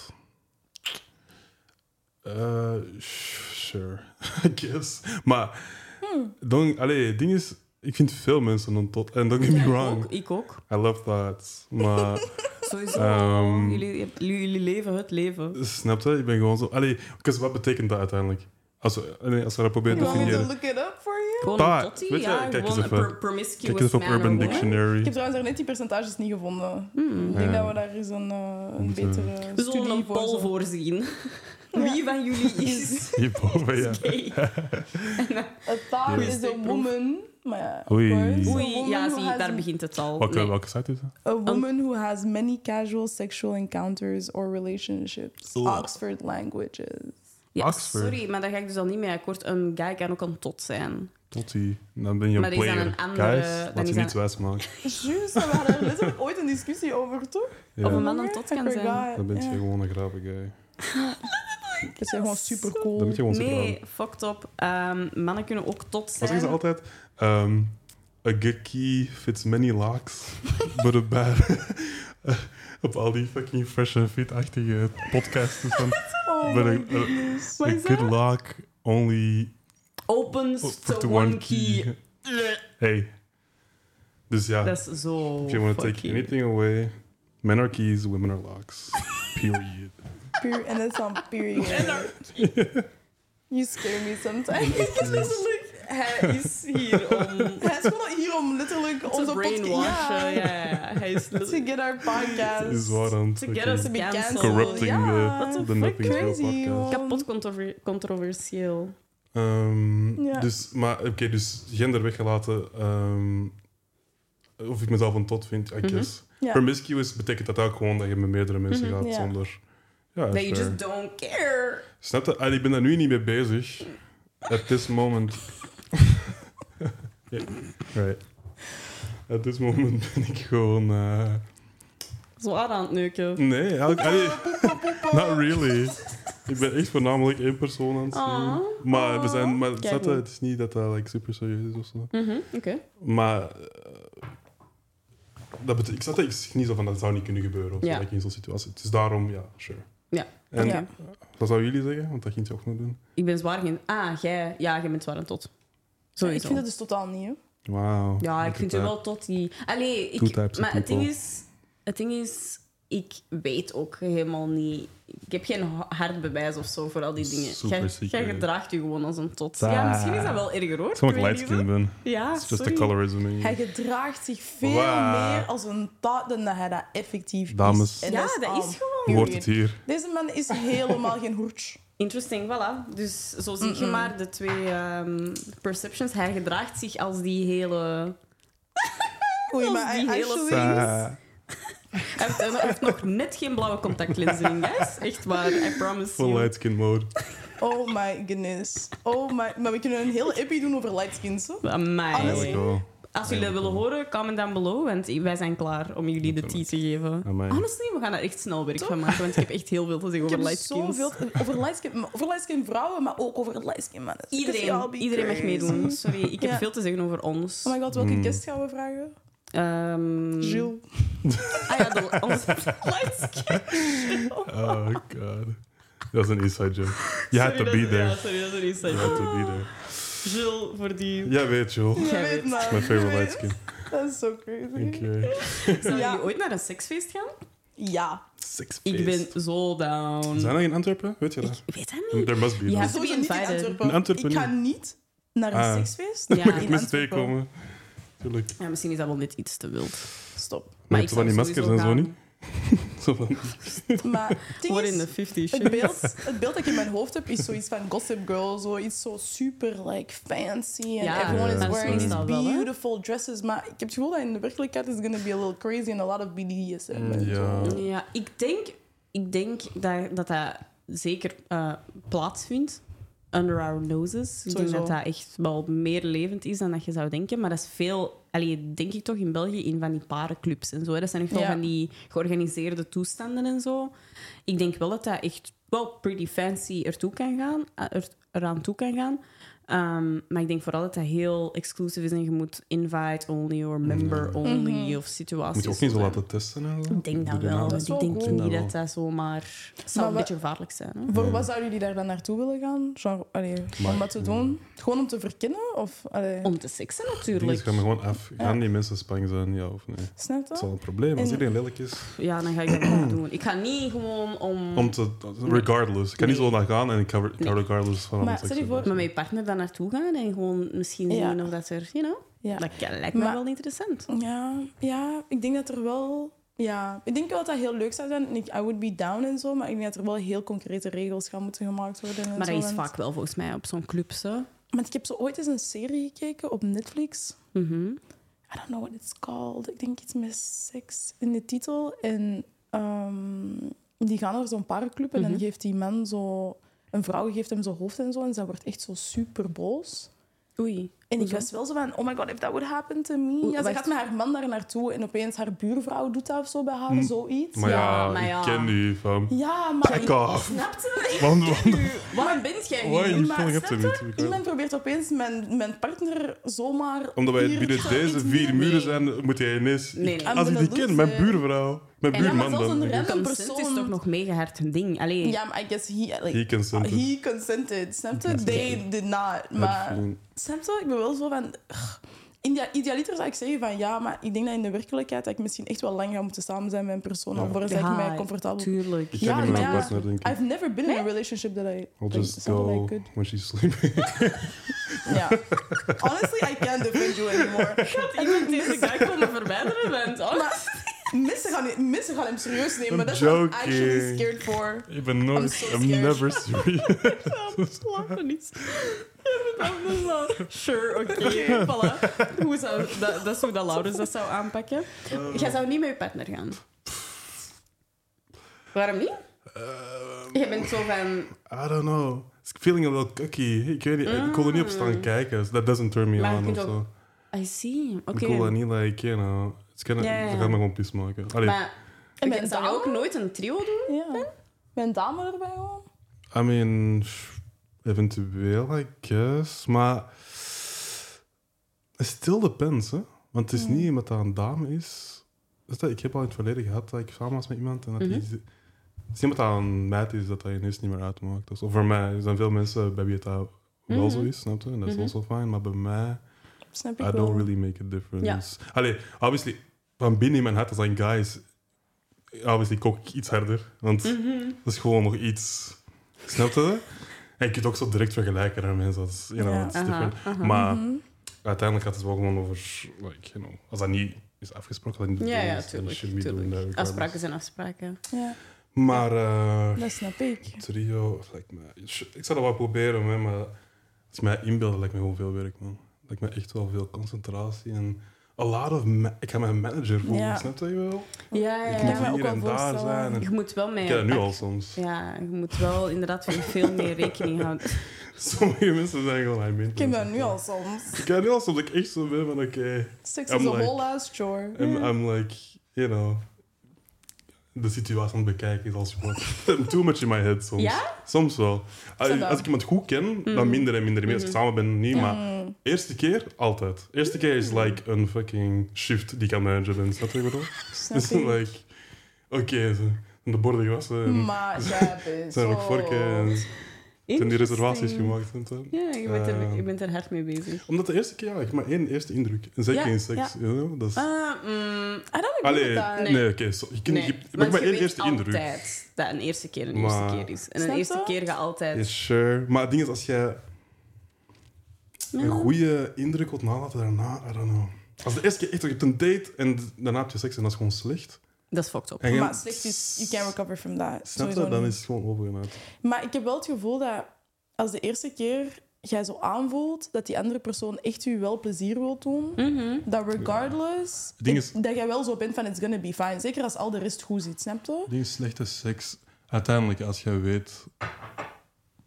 C: Eh, sh- sure, I guess. Maar,
B: Hmm.
C: don't, allee, het ding is, ik vind veel mensen een tot. En don't get me
B: ik
C: wrong,
B: ook. Ik ook.
C: I love that. Maar,
B: Sowieso.
C: Ehm.
B: jullie, heb- jullie leven het leven.
C: snap je? Ik ben gewoon zo... Allee, kus, wat betekent dat uiteindelijk? Als we, allee, als we dat proberen
A: You
C: te
A: want me to
C: definiëren.
A: look it up for you?
B: Gewoon
C: Pa,
B: een tottie,
C: weet je,
B: ja.
C: kijk eens
B: gewoon een
C: even.
B: per- promiscuous
C: Kijk eens op
B: man or
C: Urban
B: woman.
A: Ik heb
C: Dictionary.
A: trouwens daarnet die percentages niet gevonden.
B: Hmm.
A: Ik denk
C: Ja.
A: dat we daar eens een, eh, een
C: Moet, eh,
A: betere
B: We zullen
A: studie
B: een
A: voor
B: poll
A: zullen-
B: voorzien. Wie van jullie is
C: Hierboven, ja.
B: gay?
A: A thought
B: Ja.
A: is a woman. Maar ja, of
C: Oei.
A: course. A
B: Oei,
A: woman
B: ja,
A: who
B: zie,
A: has-
B: daar begint het al.
C: Welke,
B: Nee.
C: welke site is dat?
A: A woman who has many casual sexual encounters or relationships.
C: Oeh.
A: Oxford languages.
B: Ja,
C: Oxford.
B: Sorry, maar daar ga ik dus al niet mee akkoord. Een guy kan ook een tot zijn.
C: Tot die. Dan ben je
B: Maar
C: een
B: dat is dan
C: player.
B: een andere-
C: Guys,
B: dan
C: laat
B: is
C: je
B: dat
C: niets wijs maken.
A: Juist, we hadden er letterlijk ooit een discussie over, toch?
B: Of
C: Ja,
B: een man een tot
A: Oh
B: kan zijn.
C: dan ben je gewoon een grave guy.
A: Dat zijn gewoon super cool.
C: Dan moet je gewoon super
B: Oh, Nee, fucked up. Ehm, mannen kunnen ook tot
C: Maar zeggen ze
B: zijn.
C: altijd... ehm a good key fits many locks, but a bad... Op al die fucking fresh and fit-achtige podcasts. Van,
A: Oh
C: but a,
A: my
C: a-
A: goodness.
C: a good lock only
B: Opens
C: for
B: to
C: the
B: one
C: Oh, one
B: key. Eh.
C: key. Hey. Dus ja,
B: Dat is zo.
C: if you want to take
B: fucking-
C: anything away, men are keys, women are locks. Period.
A: Pure, and that's on period. You scare me sometimes.
B: Het is letterlijk, hij is hier om
A: Hij is gewoon hier om letterlijk
B: te
A: onze podcast...
B: brainwashen.
A: Ja.
B: eh, Ja, ja, hij is
A: To get our podcast.
C: is waar aan het
B: To get
C: fucking
B: us
A: To be
B: Cancel.
A: cancelled.
C: corrupting
A: Ja.
C: the,
B: What
C: the
B: the fuck,
C: Nothing's Real
A: crazy,
C: podcast.
A: joh.
B: kapot controver- controversieel.
C: Ehm,
A: Ja.
C: Dus, maar oké, dus gender weggelaten. ehm, of ik mezelf een tot vind, I
B: Mhm.
C: guess.
A: Ja.
C: Promiscuous betekent dat ook gewoon dat je met meerdere mensen
B: Mhm.
C: gaat
A: Ja.
C: zonder... Ja,
B: That you
C: sure.
B: just don't care.
C: Snap je? Ah, ik ben daar nu niet mee bezig. At this moment. Ja, Right. At this moment ben ik gewoon... eh,
B: Zwaar aan het neuken.
C: Nee, eigenlijk... allee, Not really. Ik ben echt voornamelijk één persoon aan het zien.
B: Aw.
C: mm. Maar, we
B: Ah.
C: zijn, maar
A: Kijk
C: snap je,
A: hoe.
C: het is niet dat dat like, super serieus is of zo.
B: Mhm, Oké.
C: Maar eh, dat betekent, ik zat echt niet zo van dat zou niet kunnen gebeuren of zo,
B: Ja.
C: like, in zo'n situatie. Het is daarom, ja, sure.
B: Ja.
C: En
A: Ja.
C: wat zouden jullie zeggen? Want dat ging je ook nog doen.
B: Ik ben zwaar geen... Ah, jij... Ja, jij bent zwaar aan tot.
A: Ik
B: Sowieso.
A: vind dat dus totaal niet, hè.
C: Wauw.
B: Ja, ik vind
C: Look at
B: het
C: that.
B: wel tot die... Allee,
C: Two
B: ik...
C: types of
B: Maar het ding
C: people.
B: is... Het ding is... Ik weet ook helemaal niet... Ik heb geen ha- hard bewijs of zo voor al die dingen.
C: Super
B: Jij-
C: ziek,
B: Jij
C: hè.
B: gedraagt je gewoon als een tot.
C: Ah.
B: Ja, misschien is dat wel erger, hoor.
C: Het is omdat
B: Ik
C: ik
B: weet
C: light
B: niet
C: skin ben.
B: zo- Ja,
C: It's just the
B: sorry.
C: colorism in
A: Hij
C: you.
A: gedraagt zich veel
C: Wow.
A: meer als een taart dan dat hij dat effectief
C: Dames.
A: is. En
B: Ja, dat
A: al
B: is gewoon...
C: Hoe wordt het hier?
A: Deze man is helemaal geen hoertje.
B: Interesting, voilà. Dus zo zie je maar de twee ehm, perceptions. Hij gedraagt zich als die hele...
A: Oei,
B: Als
A: maar
B: die
A: I
B: hele
A: actually...
C: Ah.
B: Hij heeft, hij heeft nog net geen blauwe contactlenzen in, guys. Echt waar, I promise
C: Full
B: you.
C: light skin mode.
A: Oh my goodness. Oh my... Maar we kunnen een hele epi doen over lightskins, hè?
C: Eigenlijk
B: Amai.
C: wel.
B: Als jullie dat willen horen, comment down below, want wij zijn klaar om jullie de tea te geven.
C: Amai.
B: Honestly, we gaan er echt snel werk van maken, want ik heb echt heel veel te zeggen
A: Ik
B: over
A: heb
B: lightskins.
A: zoveel... Over lightskin, over lightskin vrouwen, maar ook over lightskin mannen. Because y'all
B: Iedereen,
A: be
B: iedereen mag
A: crazy.
B: meedoen. Sorry, ik heb
A: Ja.
B: veel te zeggen over ons.
A: Oh my god, welke
C: Mm.
A: guest gaan we vragen?
B: Ehm,
A: Jill.
B: Ah ja, de, onze lightskins.
C: Oh god. Dat is een inside joke. You
B: Sorry
C: had to
B: dat-
C: be
B: Ja,
C: there.
B: sorry, dat is niet
C: You had to be there.
B: Jill, voor die...
C: Jij weet, joh.
A: Ja,
B: Jij
A: weet
B: weet.
A: maar.
C: My favorite
A: Jij
C: light
A: weet.
C: skin.
A: Dat is zo crazy.
C: Oké.
B: Zou
A: Ja.
B: jullie ooit naar een seksfeest gaan?
A: Ja.
C: Six
B: Ik ben zo down.
C: Zijn er in Antwerpen? Weet je dat?
B: Ik weet dat niet.
C: There must be.
B: Ja.
C: Ja.
B: to be
A: Sowieso niet in
B: invited.
A: Antwerpen.
C: In Antwerpen
A: Ik ga
C: niet.
A: niet naar een
C: Ah.
A: seksfeest.
B: Ja.
A: in
C: Ik mis twee
A: Antwerpen.
C: komen. Tuurlijk.
B: Ja, misschien is dat wel net iets te wild.
A: Stop.
C: Maar
B: ik
C: van die maskers en zo niet. Zo van,
A: Maar het ding
B: What
A: is,
B: in the 50
A: het, beeld, het beeld dat ik in mijn hoofd heb is zoiets van Gossip Girl. Zoiets zo super like, fancy. And
B: Ja,
A: everyone
C: Ja,
A: is
C: dat
A: wearing
C: is
A: these
B: wel wel, hè?
A: beautiful dresses. Maar ik heb het gevoel dat in de werkelijkheid is going to be a little crazy and a lot of BDSM. en zo.
C: Mm, ja.
B: Ja, ik denk, ik denk dat, dat dat zeker eh, plaatsvindt. Under our noses. Ik denk
A: Sowieso.
B: dat dat echt wel meer levend is dan dat je zou denken. Maar dat is veel, allee, denk ik toch, in België in van die parenclubs en zo. hè. Dat zijn echt wel
A: Ja.
B: van die georganiseerde toestanden en zo. Ik denk wel dat dat echt wel pretty fancy ertoe kan gaan, eh, er, eraan toe kan gaan. Ehm, maar ik denk vooral dat dat heel exclusief is en je moet invite only of member only of situaties.
C: Mm-hmm. Moet je ook niet zo
B: zijn.
C: laten testen en zo?
B: Ik denk dat
C: Doe
B: wel.
C: nou.
B: maar
A: Dat is
B: ik
A: wel
B: denk
A: goed.
B: niet
C: Ja,
B: dat dat zomaar... Het zou
A: Maar
B: een
A: we-
B: beetje gevaarlijk zijn. Hè?
A: Voor wat zouden jullie daar dan naartoe willen gaan? Genre, allee,
C: Mm. Maar-
A: om wat te doen? Gewoon om te verkennen? Of, allee,
B: Om te seksen
C: Dingen
B: natuurlijk.
C: gaan me gewoon af. Gaan
A: Ja.
C: die mensen spang zijn, ja of nee?
A: snap
C: Het is
A: je?
C: al een probleem. Als
A: En-
C: iedereen lelijk is,
B: Ja, dan ga ik dat wel doen. Ik ga niet gewoon
A: Mm.
B: om,
C: om te... Regardless. Ik kan niet
B: Nee.
C: zo naar gaan en ik ga, ik ga
B: Nee.
C: regardless van
A: Maar
C: wat ik
A: stel je
C: zeg.
A: voor-
B: met mijn partner daar naartoe gaan en gewoon misschien
A: Ja.
B: zien of dat er... You know,
A: Ja.
B: Dat kan- lijkt me
A: Maar-
B: wel interessant.
A: Ja, ja, ik denk dat er wel. Ja, ik denk wel dat dat heel leuk zou zijn. En ik, I would be down en zo, maar ik denk dat er wel heel concrete regels gaan moeten gemaakt worden. En
B: Maar
A: zo,
B: dat is
A: want-
B: vaak wel volgens mij op zo'n club zo.
A: Want ik heb zo ooit eens een serie gekeken op Netflix.
B: Mhm.
A: I don't know what it's called. Ik denk iets met seks in de titel. En ehm, die gaan naar zo'n parenclub en
B: Mhm.
A: dan geeft die man zo... Een vrouw geeft hem zijn hoofd en zo en zij wordt echt zo super boos.
B: Oei.
A: En ik
B: Hoezo?
A: was wel zo van, oh my god, if that would happen to me. Ja, ze
B: wacht.
A: gaat met haar man daar naartoe en opeens haar buurvrouw doet dat of zo bij haar,
C: Hm.
A: zoiets.
C: Maar ja,
B: Ja, maar ja.
C: ik ken die van...
A: Ja, maar
C: Fuck off.
B: Snap je?
C: Want, want,
B: Waarom bent jij
C: why are you
B: hier?
A: maar
C: pulling up
A: snap
C: to me? to be kind?
A: iemand probeert opeens mijn, mijn partner zomaar...
C: Omdat wij
A: hier
C: binnen
A: iets-
C: deze
A: iets
C: vier
A: meer-
C: muren zijn, moet jij ineens...
B: Nee,
C: Ik-
B: nee.
C: Als ik die
A: Ambulance,
C: ken, mijn
A: eh,
C: buurvrouw, mijn
A: en dan
C: buurman
A: maar zelfs
C: dan.
A: een
C: denk ik.
A: random
B: Consent is
A: persoon-
B: toch nog mega hard een ding. Allee,
A: Ja, maar I guess he... Like,
C: He consented.
A: He consented, snap je? They did not.
C: Ja,
A: Maar
C: vriend.
A: snap je? Ik ben wel zo van... ugh. India, idealiter zou ik zeggen van ja, maar ik denk dat in de werkelijkheid dat ik misschien echt wel lang ga moeten samen zijn met een persoon.
C: Ja.
A: Alvorens dat ik mij comfortabel voel.
B: Tuurlijk.
C: Ik ken
A: Ja,
C: niet
A: maar
C: mijn
A: ja,
C: partner, denk ik.
A: I've never been in a relationship that I,
C: I'll
A: that
C: just
A: something I
C: go
A: could.
C: when she's sleeping.
A: Ja. Honestly, I can't defend you anymore.
B: Iemand deze guy komen verwijderen bent.
A: Maar mensen gaan, mensen gaan hem serieus nemen.
C: I'm
A: Dat is what I'm actually
C: joking.
A: scared for.
C: Ik ben
A: I'm
C: nooit...
A: so
C: I'm
A: scared.
C: never serious.
B: Slapen is. Sure, oké. Voilà. Hoe zou, dat, dat is hoe dat Laurens dat zou aanpakken.
C: Eh.
B: Jij zou niet met je partner gaan. Waarom niet?
C: Ehm,
B: Je bent zo van...
C: I don't know. Ik feeling a little cookie. Ik weet niet, ik kon er niet op
A: Mm.
C: staan kijken. so that doesn't turn me
B: Maar je
C: on of
B: kunt
C: zo.
B: ook- I see. Oké.
C: Ik wil dat eh, niet, like, you know... It's kinda,
B: Ja, ja, ja.
C: Ze gaan me gewoon pis maken. Allee,
B: Maar
A: En
B: oké,
A: met
B: zou je ook
A: dame?
B: nooit een trio doen?
A: Ja. Met een dame erbij gewoon.
C: I mean... pff, Eventueel, I guess. Maar... It still depends, hè. Want
B: Mm.
C: het is niet omdat dat een dame is... Is dat, ik heb al in het verleden gehad dat ik samen was met iemand en
B: Mhm.
C: dat die... Het is niet omdat dat een meid is dat dat ineens niet meer uitmaakt. Dus, of voor mij, er zijn veel mensen bij wie het dat wel zo
B: Mhm.
C: is, snap je? En dat is
B: Mhm.
C: also fine. Maar bij mij...
A: Snap ik wel.
C: I don't really make a difference. Allee, obviously, van binnen in mijn hart als een guy is... Obviously kok ik iets harder, want
B: Hm.
C: dat is gewoon nog iets... Snap je dat? En je kunt het ook zo direct vergelijken naar mensen. Dat is, you know,
A: Ja.
C: it's
B: Aha,
C: different.
B: aha. Mhm.
C: Maar
A: Mm-hmm.
C: uiteindelijk gaat het wel gewoon over... Like, you know, als dat niet is afgesproken, dan
B: Ja, ja,
C: tuurlijk.
B: tuurlijk. tuurlijk. Afspraken zijn afspraken.
A: Ja,
C: Maar eh,
A: dat snap ik.
C: trio, of lijkt me... Ik zou dat wel proberen, hè, maar als mij inbeelden lijkt me gewoon veel werk, man. Lijkt me echt wel veel concentratie en... A lot of... ma- ik ga mijn manager voelen,
A: Ja.
C: snap je wel?
B: Ja, ja,
C: Ik
A: kan me
B: ja.
C: moet
A: ook
C: hier
A: wel
C: en daar
A: voorstellen.
C: zijn. en-
B: Je moet wel mee...
C: Ik heb dat nu al soms.
B: Ja, je moet wel inderdaad weer veel meer rekening houden.
C: Sommige mensen zijn gewoon... I mean,
A: Ik heb dat nu al soms.
C: Ik heb dat nu al soms dat ik echt zo ben van, oké...
A: Sex
C: I'm
A: is a
C: like-
A: whole ass chore.
C: I'm, I'm like, you know... De situatie aan het bekijken is als gewoon... Too much in my head soms.
B: Ja?
C: Soms wel. Als,
A: Snap dat.
C: als ik iemand goed ken, dan minder en minder en meer. Als ik samen ben, niet. Maar
A: Mm.
C: eerste keer, altijd. Eerste keer
B: Hmm.
C: is like een fucking shift die ik aan managen ben. Snap je wat ik bedoel?
A: Snap
C: Dus
A: ik.
C: like... um, Oké, ze de borden gewassen. En
A: Maar jij bent
C: zijn er ook
A: zo-
C: vorken. En zijn die reservaties
B: Interesting.
C: gemaakt. snap je?
B: Ja, je bent, er,
C: Ehm.
B: je bent er hard mee bezig.
C: Omdat de eerste keer, ja, ik heb maar één eerste indruk. En zeker
B: Ja,
C: in seks. you know, dat is-
B: Ah,
A: I
B: mm,
A: don't agree
C: Allee,
A: with that.
C: nee,
B: Nee.
C: oké. so- je kunt-
B: nee.
C: je hebt
B: Want
C: maar
B: je
C: één
B: weet
C: eerste indruk.
B: altijd dat een eerste keer een eerste
C: Maar-
B: keer is. En een
A: Snap
B: eerste
A: je?
B: keer gaat altijd...
C: Yes, sure. Maar het ding is, als jij een goede indruk wilt nalaten daarna, I don't know. Als de eerste keer echt, je hebt een date en d- daarna heb je seks en dat is gewoon slecht.
B: Dat is fucked up.
C: En je-
A: Maar slecht is, you can recover from that.
C: Snap je?
A: Sowieso
C: Dan
A: niet.
C: is het gewoon overgemaakt.
A: Maar ik heb wel het gevoel dat als de eerste keer jij zo aanvoelt dat die andere persoon echt u wel plezier wil doen,
B: Mhm.
A: dat regardless,
C: Het ding is-
A: dat jij wel zo bent van it's gonna be fine. Zeker als al de rest goed zit, snap je?
C: Die slechte seks, uiteindelijk, als jij weet...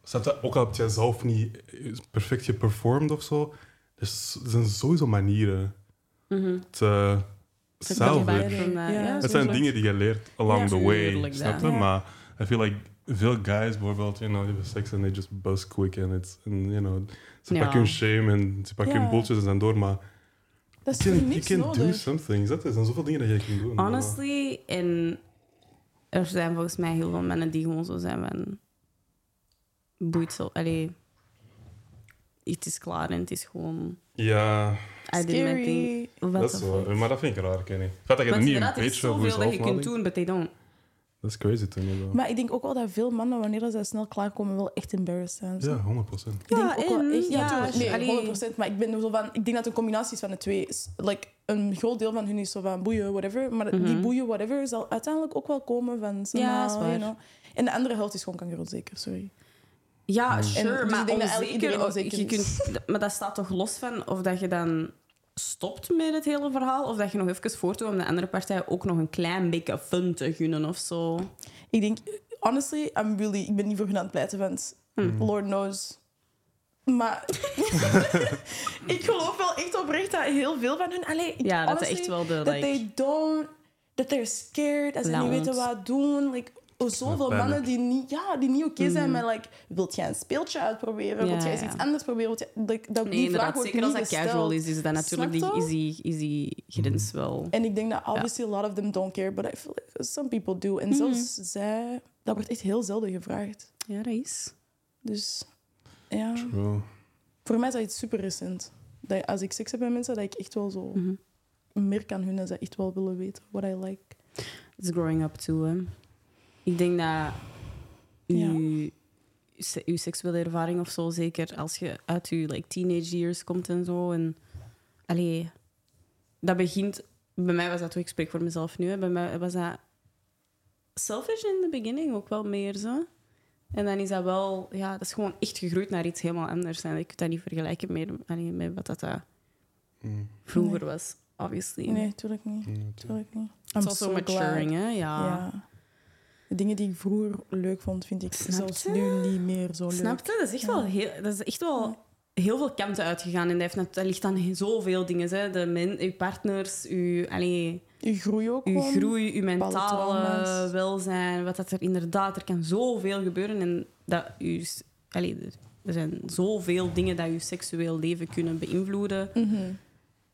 C: Snap je? Ook al heb jij zelf niet perfect geperformed of zo, er s- er zijn sowieso manieren te
B: Te
C: salvage.
B: verwijderen van dat.
A: Ja,
B: Ja,
C: Het zijn
B: sowieso.
C: dingen die je leert along
B: Ja,
C: the way,
B: tuurlijk,
C: snap je?
A: ja.
C: Maar I feel like veel guys bijvoorbeeld, you know, die hebben seks en they just bust quick and it's, and, you know, ze
B: Ja.
C: pakken hun shame en ze pakken
A: Ja.
C: hun bullshit en zijn door, maar
A: Dat is
C: you
A: voor
C: can, you
A: niks
C: can do
A: nodig.
C: something. Dat er zijn zoveel dingen dat je kan doen.
B: Honestly, en er zijn volgens mij heel veel mannen die gewoon zo zijn van... Boeit zo... Allee, het is klaar en het is gewoon...
C: Ja,
B: I did my
A: Scary.
B: thing. What
C: dat
B: the
C: is
B: fuck?
C: wel, maar dat vind ik raar, Kenny. Het feit dat je er
B: Want
C: niet een
B: inderdaad, er is
C: beetje voor
B: zoveel dat
C: jezelf
B: je kunt
C: nadenkt,
B: doen, but they don't.
C: dat is crazy toen je dat-
A: Maar ik denk ook wel dat veel mannen, wanneer ze snel klaarkomen, wel echt embarrassed zijn.
C: Ja, 100%.
A: Ik
B: Ja,
A: denk ook wel
B: en-
A: echt.
B: ja,
A: Ja, tuurlijk. nee,
B: allee.
A: 100%. Maar ik ben zo van. Ik denk dat het een combinatie is van de twee. S- Like, een groot deel van hun is zo van boeien, whatever. Maar die boeien, whatever, zal uiteindelijk ook wel komen van. zo
B: Mhm.
A: nou,
B: Ja, is
A: you
B: waar.
A: know. En de andere helft is gewoon kankeronzeker, sorry.
B: Ja, sure,
A: En dus
B: maar
A: ik denk dat eigenlijk
B: onzeker,
A: iedereen onzeker
B: je
A: is.
B: kunt, Maar dat staat toch los van of dat je dan stopt met het hele verhaal of dat je nog even voortdoet om de andere partij ook nog een klein beetje fun te gunnen of zo.
A: Ik denk, honestly, I'm really, ik ben niet voor hun aan het pleiten, want
B: Mhm.
A: Lord knows. Maar ik geloof wel echt oprecht dat heel veel van hun. Allee, ik-
B: Ja, dat
A: honestly,
B: is echt wel de,
A: dat
B: like-
A: they don't, dat they're scared, dat ze niet
B: Lauwend.
A: weten wat doen. Like, oh, zoveel
C: panic.
A: mannen die niet, ja, die niet oké zijn met, like, wilt jij een speeltje uitproberen?
B: Mm. Ja,
A: wilt jij eens
B: ja.
A: iets anders proberen? Wilt jij- like, dat,
B: Nee,
A: die vraag
B: inderdaad.
A: wordt
B: Zeker
A: niet
B: als dat
A: gesteld.
B: casual is, is dat natuurlijk die,
A: Snap je?
B: is die, is die grens wel.
A: En ik denk dat obviously a lot of them don't care, but I feel like some people do.
B: Mhm.
A: En zelfs zij, dat wordt echt heel zelden gevraagd.
B: Ja, dat is.
A: Dus ja,
C: Wel,
A: voor mij is dat iets super recent. dat als ik seks heb met mensen, dat ik echt wel zo
B: Mhm.
A: meer kan hun en ze echt wel willen weten what I like.
B: It's growing up too. Hè. Ik denk dat je je seksuele ervaring of zo, zeker als je uit je like, teenage years komt en zo. En, allee, dat begint, bij mij was dat toch, ik spreek voor mezelf nu, hè, bij mij was dat selfish in the beginning ook wel meer zo. En dan is dat wel, ja, dat is gewoon echt gegroeid naar iets helemaal anders. En ik kan dat niet vergelijken meer, allee, met wat dat eh,
C: Mm,
B: vroeger was, obviously.
A: Nee, tuurlijk niet.
C: mm,
A: Tuurlijk niet. I'm
B: Het was zo
A: so glad.
B: maturing, hè? ja.
A: Ja. De dingen die ik vroeger leuk vond, vind ik
B: Snap
A: zelfs
B: je?
A: nu niet meer zo leuk.
B: Snap je? Dat is echt wel heel, dat is echt wel heel veel kanten uitgegaan. En dat, heeft, nat- dat ligt aan he- zoveel dingen. Hè? De men, uw partners, uw, allee,
A: Je groei ook
B: uw
A: gewoon.
B: groei, uw mentale
A: trauma's.
B: welzijn. Wat dat er inderdaad... Er kan zoveel gebeuren. En dat uw, s- allee, er, er zijn zoveel dingen dat uw seksueel leven kunnen beïnvloeden.
A: Mhm.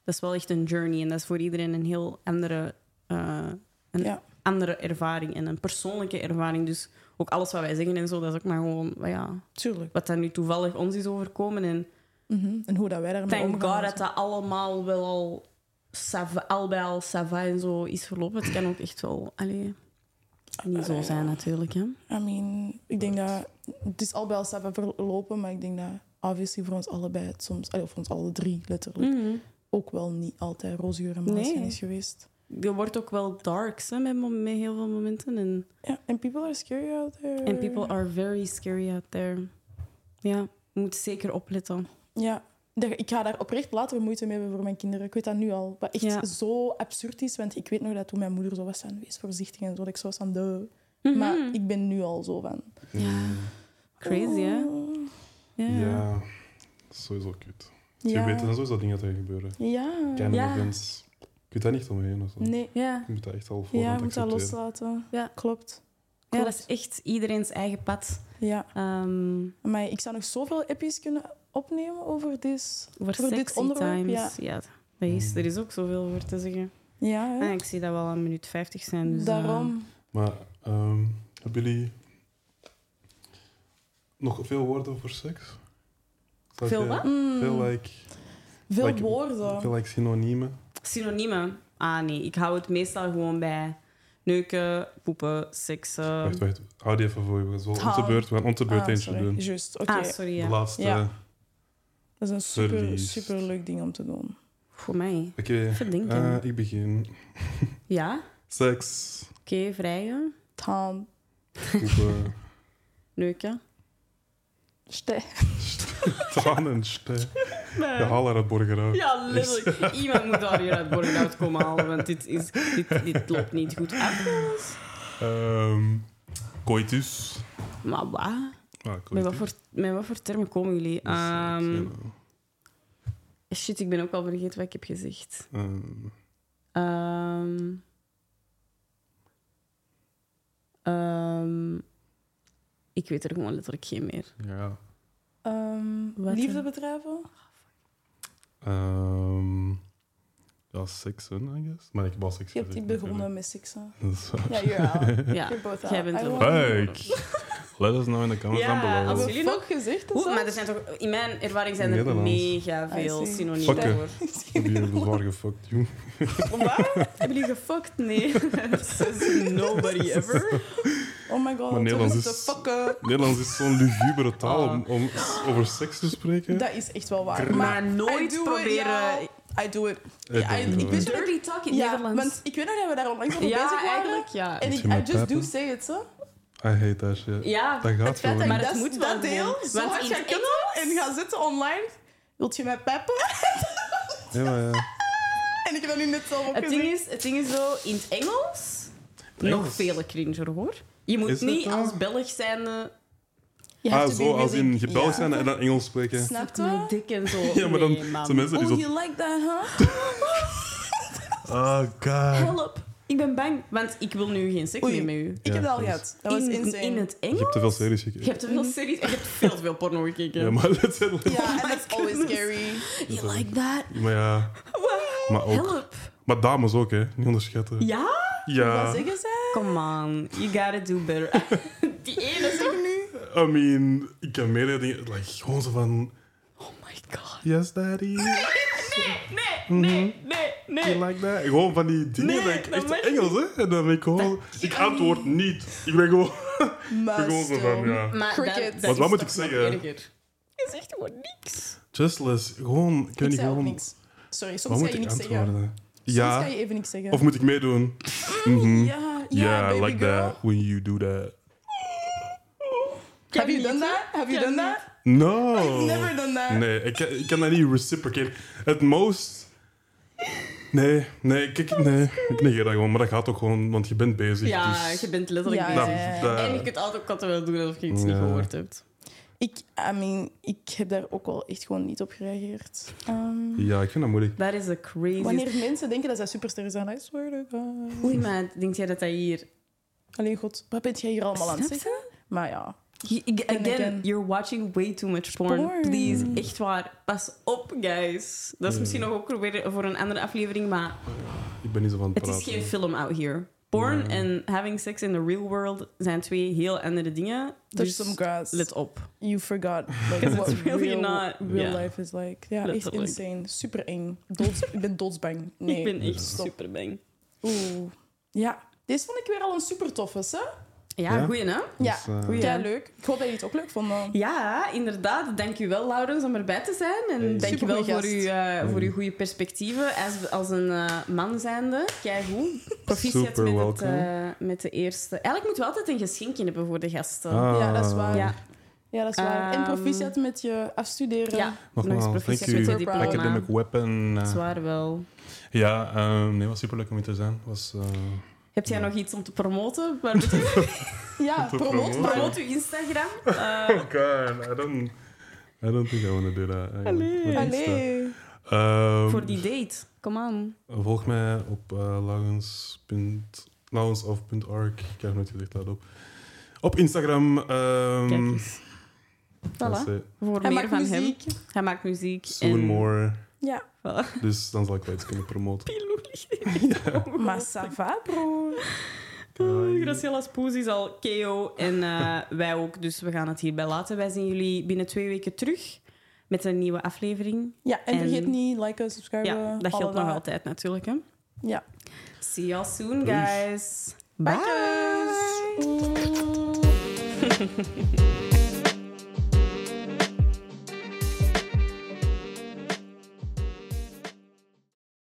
B: Dat is wel echt een journey. En dat is voor iedereen een heel andere... eh, een
A: Ja.
B: andere ervaring en een persoonlijke ervaring. Dus ook alles wat wij zeggen en zo, dat is ook maar gewoon... maar Ja,
A: Tuurlijk.
B: wat dan nu toevallig ons is overkomen. En
A: Mhm. En hoe dat wij daarmee
B: thank
A: omgaan.
B: god dat dat allemaal wel al, sava, al bij al sava en zo is verlopen. Het kan ook echt wel allee, niet zo zijn natuurlijk. Hè.
A: I mean, ik denk dat... Het is al bij ons verlopen, maar ik denk dat... Obviously voor ons allebei het soms... allee, Of ons alle drie, letterlijk. Ook wel niet altijd roosgeur en maneschijn
B: Mm. Nee.
A: is geweest.
B: Je wordt ook wel darks hè, met, mom- met heel veel momenten. En
A: Ja, and people are scary out there.
B: and people are very scary out there. Ja, je moet zeker opletten.
A: Ja. Daar- Ik ga daar oprecht later moeite mee hebben voor mijn kinderen. Ik weet dat nu al. Wat echt
B: Ja.
A: zo absurd is. Want ik weet nog dat toen mijn moeder zo was van... Wees voorzichtig en zo. Dat ik zo was van... De...
B: Mhm.
A: Maar ik ben nu al zo van...
C: mm.
B: Ja. Crazy, hè?
A: oh.
B: Ja.
C: Ja, dat is sowieso kut. Je
A: Ja.
C: weet dat sowieso dingen dat er gebeuren.
A: Ja.
C: Kennen
B: Ja.
C: events. Je kunt daar niet omheen. of zo.
A: Nee.
B: Ja.
C: Je moet dat echt al voor
A: Ja, je moet dat loslaten.
B: Ja.
A: Klopt.
B: ja,
A: Klopt.
B: dat is echt iedereen's eigen pad.
A: Ja.
B: Ehm,
A: Maar ik zou nog zoveel epi's kunnen opnemen over dit.
B: over
A: Voor dit
B: sexy
A: onderwerp,
B: times.
A: ja.
B: Ja, dat is, er is ook zoveel voor te zeggen.
A: Ja, hè?
B: Ah, ik zie dat we al aan minuut 50 zijn. Dus, eh,
A: daarom.
C: Maar ehm, hebben jullie nog veel woorden voor seks? Zou
B: Veel
C: jij-
B: wat? Hmm.
A: Mm,
C: Veel, eh, like,
A: veel
C: like-
A: woorden. Ah,
C: veel like synoniemen.
B: Synoniemen? Ah nee, ik hou het meestal gewoon bij neuken, poepen, seksen.
C: Wacht, wacht. Hou die even voor je. want Het is wel
A: Hou.
C: onze beurt. We gaan onze beurt
A: Ah,
C: eentje
A: sorry.
C: doen.
A: Juist, oké.
B: Ah, sorry,
C: De
B: ja.
C: laatste.
A: Ja. Dat is een super,
C: Verlies.
A: super leuk ding om te doen.
B: Voor mij.
C: Oké,
B: Even denken.
C: eh, ik begin.
B: Ja?
C: Seks,
B: Oké, vrijen,
A: Taan,
C: poepen,
B: neuken.
A: ste.
C: tranen en stij. Je haalt haar uit Borgerhout.
B: Ja, letterlijk. Iemand moet daar hier uit Borghout komen halen, want dit, is, dit, dit loopt niet goed af. jongens.
C: Ehm, coitus.
B: Maar wat?
C: Ah,
B: Met wat,
C: coitus.
B: voor, met wat voor termen komen jullie?
C: Dus, eh,
B: Ehm,
C: ik weet wel.
B: shit, ik ben ook al vergeten wat ik heb gezegd.
C: Ehm,
B: Ehm Ehm, ik weet er gewoon letterlijk geen meer.
C: eh, ja.
A: Ehm,
B: Wat,
A: liefde
B: eh?
A: bedrijven?
C: Ehm, ja, seksen, I guess. Maar ik was seks.
A: Je hebt die begonnen met seksen. Ja, ja.
B: Ja,
A: You're both
B: jij
A: out.
B: bent
A: I
B: er
A: want-
C: Kijk! Let us know in de comments
B: Ja,
C: down
B: als
A: Hebben
C: below.
A: we
B: jullie
A: fuck
B: nog-
A: gezegd?
B: Oeh, maar er zijn toch, in mijn ervaring zijn er
C: Nederlands.
B: mega veel
A: I see.
B: synoniemen
C: Fucken.
B: voor.
C: Ik heb hier bezwaar gefuckt, jong.
B: Waar? Hebben jullie gefokt? Nee. Says nobody ever.
A: Oh my god.
C: Maar Nederlands
A: terug
C: is-
A: te fucken.
C: Nederlands is zo'n lugubere taal om,
B: Ah.
C: om over seks te spreken.
A: Dat is echt wel waar.
C: Krrr.
A: Maar
B: Maar nooit
A: I do it,
B: proberen...
A: y'all. I do it.
C: Eh,
A: ja,
C: dat-
A: ik- ik wist
C: dat-
B: Dirty talk in
A: Ja,
B: Nederlands.
A: want ik weet nog dat we daar onlangs over bezig
B: ja,
A: waren.
B: eigenlijk ja.
A: En
C: Moet
A: ik,
C: je
A: I
C: maar
A: just do
C: praten?
A: say it, hè?
C: I hate that shit.
B: Ja,
C: Dat gaat
A: Het feit
C: gewoon.
A: dat
C: niet.
B: Maar
A: ik
B: dat
A: dat,
B: moet wel
A: dat deel
B: gewoon.
A: zo
B: Want
A: hard
B: in
A: ga kunnen en ga zitten online. Wilt je mij peppen?
C: Ja, maar ja.
A: En ik heb dat nu net zelf ook
B: Het ding,
A: gezien.
B: is, het ding is zo, in het Engels, nog
C: Engels?
B: vele cringer hoor. Je moet
C: Is het
B: niet
C: wel?
B: als Belg zijn. eh,
C: Ah, zo als in gebeld zijn en dan Engels spreken.
A: Snap
B: fuck my
A: je?
B: dick en zo.
C: Ja, maar dan
B: Nee, man.
C: zijn mensen die
A: Oh,
C: zo...
A: you like that, huh?
C: Oh, god.
B: Help! Ik ben bang, want ik wil nu geen seks
A: Oei.
B: meer met u.
A: Ik heb dat al
C: Ja,
A: gehad. Dat was
B: in,
A: insane.
B: in het
C: Je
B: Engels?
C: hebt te veel series
B: Je
C: gekeken.
B: hebt te veel series en je hebt veel te veel porno gekeken.
C: Ja, maar dat zijn...
B: Oh
A: Ja, en dat is always scary.
B: You like that?
C: Maar ja, maar ook...
B: Help!
C: Maar dames ook, hè. Niet onderschatten.
B: Ja?
A: Wat
C: Ja,
A: zeggen zij?
B: Come on, you gotta do better. Die ene zegt nu.
C: I mean... Ik kan meerdere dingen... Like, gewoon zo van...
B: Oh my god.
C: Yes, daddy.
B: Nee, nee,
A: Mhm.
B: nee, nee.
C: You like that? Gewoon van die dingen.
B: Nee,
C: dat ik,
B: dat
C: echt
B: mag
C: Engels, hè? En dan ben ik gewoon... Ik antwoord niet. Ik ben gewoon, ik ben
A: Maar
C: gewoon zo van,
A: stil.
C: ja...
B: Maar
A: Cricket.
B: dat- dat
A: Wat-
B: is
C: wat moet
B: toch
C: ik
B: nog
C: zeggen?
B: erger. Je zegt gewoon niks.
C: Justless. Gewoon, ik weet
A: Ik
C: niet
A: zei ook
C: gewoon...
A: niks. Sorry, soms
C: Wat
A: ga
C: moet
A: je
C: ik
A: niks zeggen.
C: antwoorden?
A: Soms
C: Ja.
A: ga je Mm. even niks zeggen.
C: Of moet ik meedoen?
A: ja,
C: Mhm.
A: ja,
C: Yeah, I
A: baby
C: like
A: girl.
C: that when you do that.
A: Have you
B: Ken
A: done
B: niet,
A: that? Have you
B: Ken
A: done
B: niet.
A: that?
C: No.
A: I've never done that.
C: Nee, ik, kan- ik kan dat niet reciprocate. Het most... Nee, nee, kijk, nee. Ik negeer dat gewoon, maar dat gaat ook gewoon, want je bent bezig.
B: Ja,
C: dus-
B: je bent letterlijk
A: Ja,
B: bezig.
C: Nou,
A: ja, ja.
C: dat-
B: En je kunt altijd ook altijd wel doen alsof je iets niet
C: Ja.
B: gehoord hebt.
A: Ik, I mean, ik heb daar ook wel echt gewoon niet op gereageerd. Ehm,
C: Ja, ik vind dat moeilijk.
B: Dat is a crazy...
A: wanneer mensen denken dat zij supersterren zijn, I swear to God.
B: Oei, maar denk jij dat dat hier...
A: Alleen god, wat ben jij hier allemaal aan het
B: Snap
A: zeggen? Maar ja,
B: Je- ik-
A: Again.
B: Again, you're watching way too much porn.
A: Porn.
B: Please, echt waar. Pas op, guys. Dat is
C: Ja.
B: misschien nog ook weer voor een andere aflevering, maar
C: Ik ben niet zo van het
B: het
C: praten.
B: is geen film out here. Porn
C: Ja.
B: en having sex in the real world zijn twee heel andere dingen.
A: touch
B: Dus
A: some grass.
B: let op.
A: You forgot like,
B: 'Cause
A: what
B: it's really
A: real,
B: not-
A: real
B: yeah.
A: life is like. Ja, echt
B: Letterlijk.
A: insane. Super eng. Doods, ik ben doodsbang. Nee.
B: ik ben echt
A: stop.
B: super bang.
A: Oeh. Ja, deze vond ik weer al een super toffe, hè?
B: Ja,
C: Ja?
B: goeie, hè?
A: Ja,
C: Dus, eh,
B: Goeie.
A: ja, leuk. Ik hoop dat jullie het ook leuk vonden.
B: Ja, inderdaad. Dankjewel, Laurens, om erbij te zijn. En
C: Hey.
B: dankjewel
A: Supergoeie
B: voor
A: gast.
B: uw, eh, voor uw goede perspectieven. Als, als een eh, man zijnde, kijk hoe. Proficiat
C: Super
B: met, het,
C: welcome.
B: eh, met de eerste. Eigenlijk moeten we altijd een geschenkje hebben voor de gasten.
C: Ah.
A: Ja, dat is waar.
B: Ja,
A: Ja, dat is waar. en
B: Ehm,
A: proficiat met je afstuderen.
B: ja.
C: Nogmaals,
B: Nog eens
C: thank
B: proficiat met
A: you.
B: je diploma.
C: Academic weapon. eh,
B: Dat is waar wel.
C: ja, ehm, nee, was superleuk om hier te zijn. Was, eh,
B: Heb jij nog iets om te promoten? Waar moet je-
A: Ja,
C: Te
A: promoot maar.
B: Promoot uw Instagram. Eh,
C: Oh god, I don't, I don't think I want to do that. eigenlijk.
B: Allee.
C: Voor Insta.
A: Allee.
C: Ehm,
B: voor die date. Kom aan.
C: Volg mij op eh laurens.laurensaf.arc. Ik krijg nooit gezegd laat op. Op Instagram. ehm,
B: Kijk eens.
C: that's
B: Voilà.
C: it.
B: Voor
A: Hij
B: meer
A: maakt
B: van hem.
A: muziek.
B: Hij maakt muziek.
C: Soon
B: en-
C: more.
A: Ja.
B: Voilà.
C: Dus dan zal ik wel iets kunnen promoten.
A: Maar ça va, bro.
B: Oh, Graciela's poes is al KO en eh, wij ook, dus we gaan het hierbij laten. Wij zien jullie binnen twee weken terug met een nieuwe aflevering.
A: Ja, en,
B: En-
A: vergeet niet, liken, subscriben.
B: ja, dat
A: alle
B: geldt nog
A: dagen.
B: altijd natuurlijk. Hè?
A: Ja.
B: See you soon,
C: Doei.
B: guys.
A: Bye, guys.
B: Bye.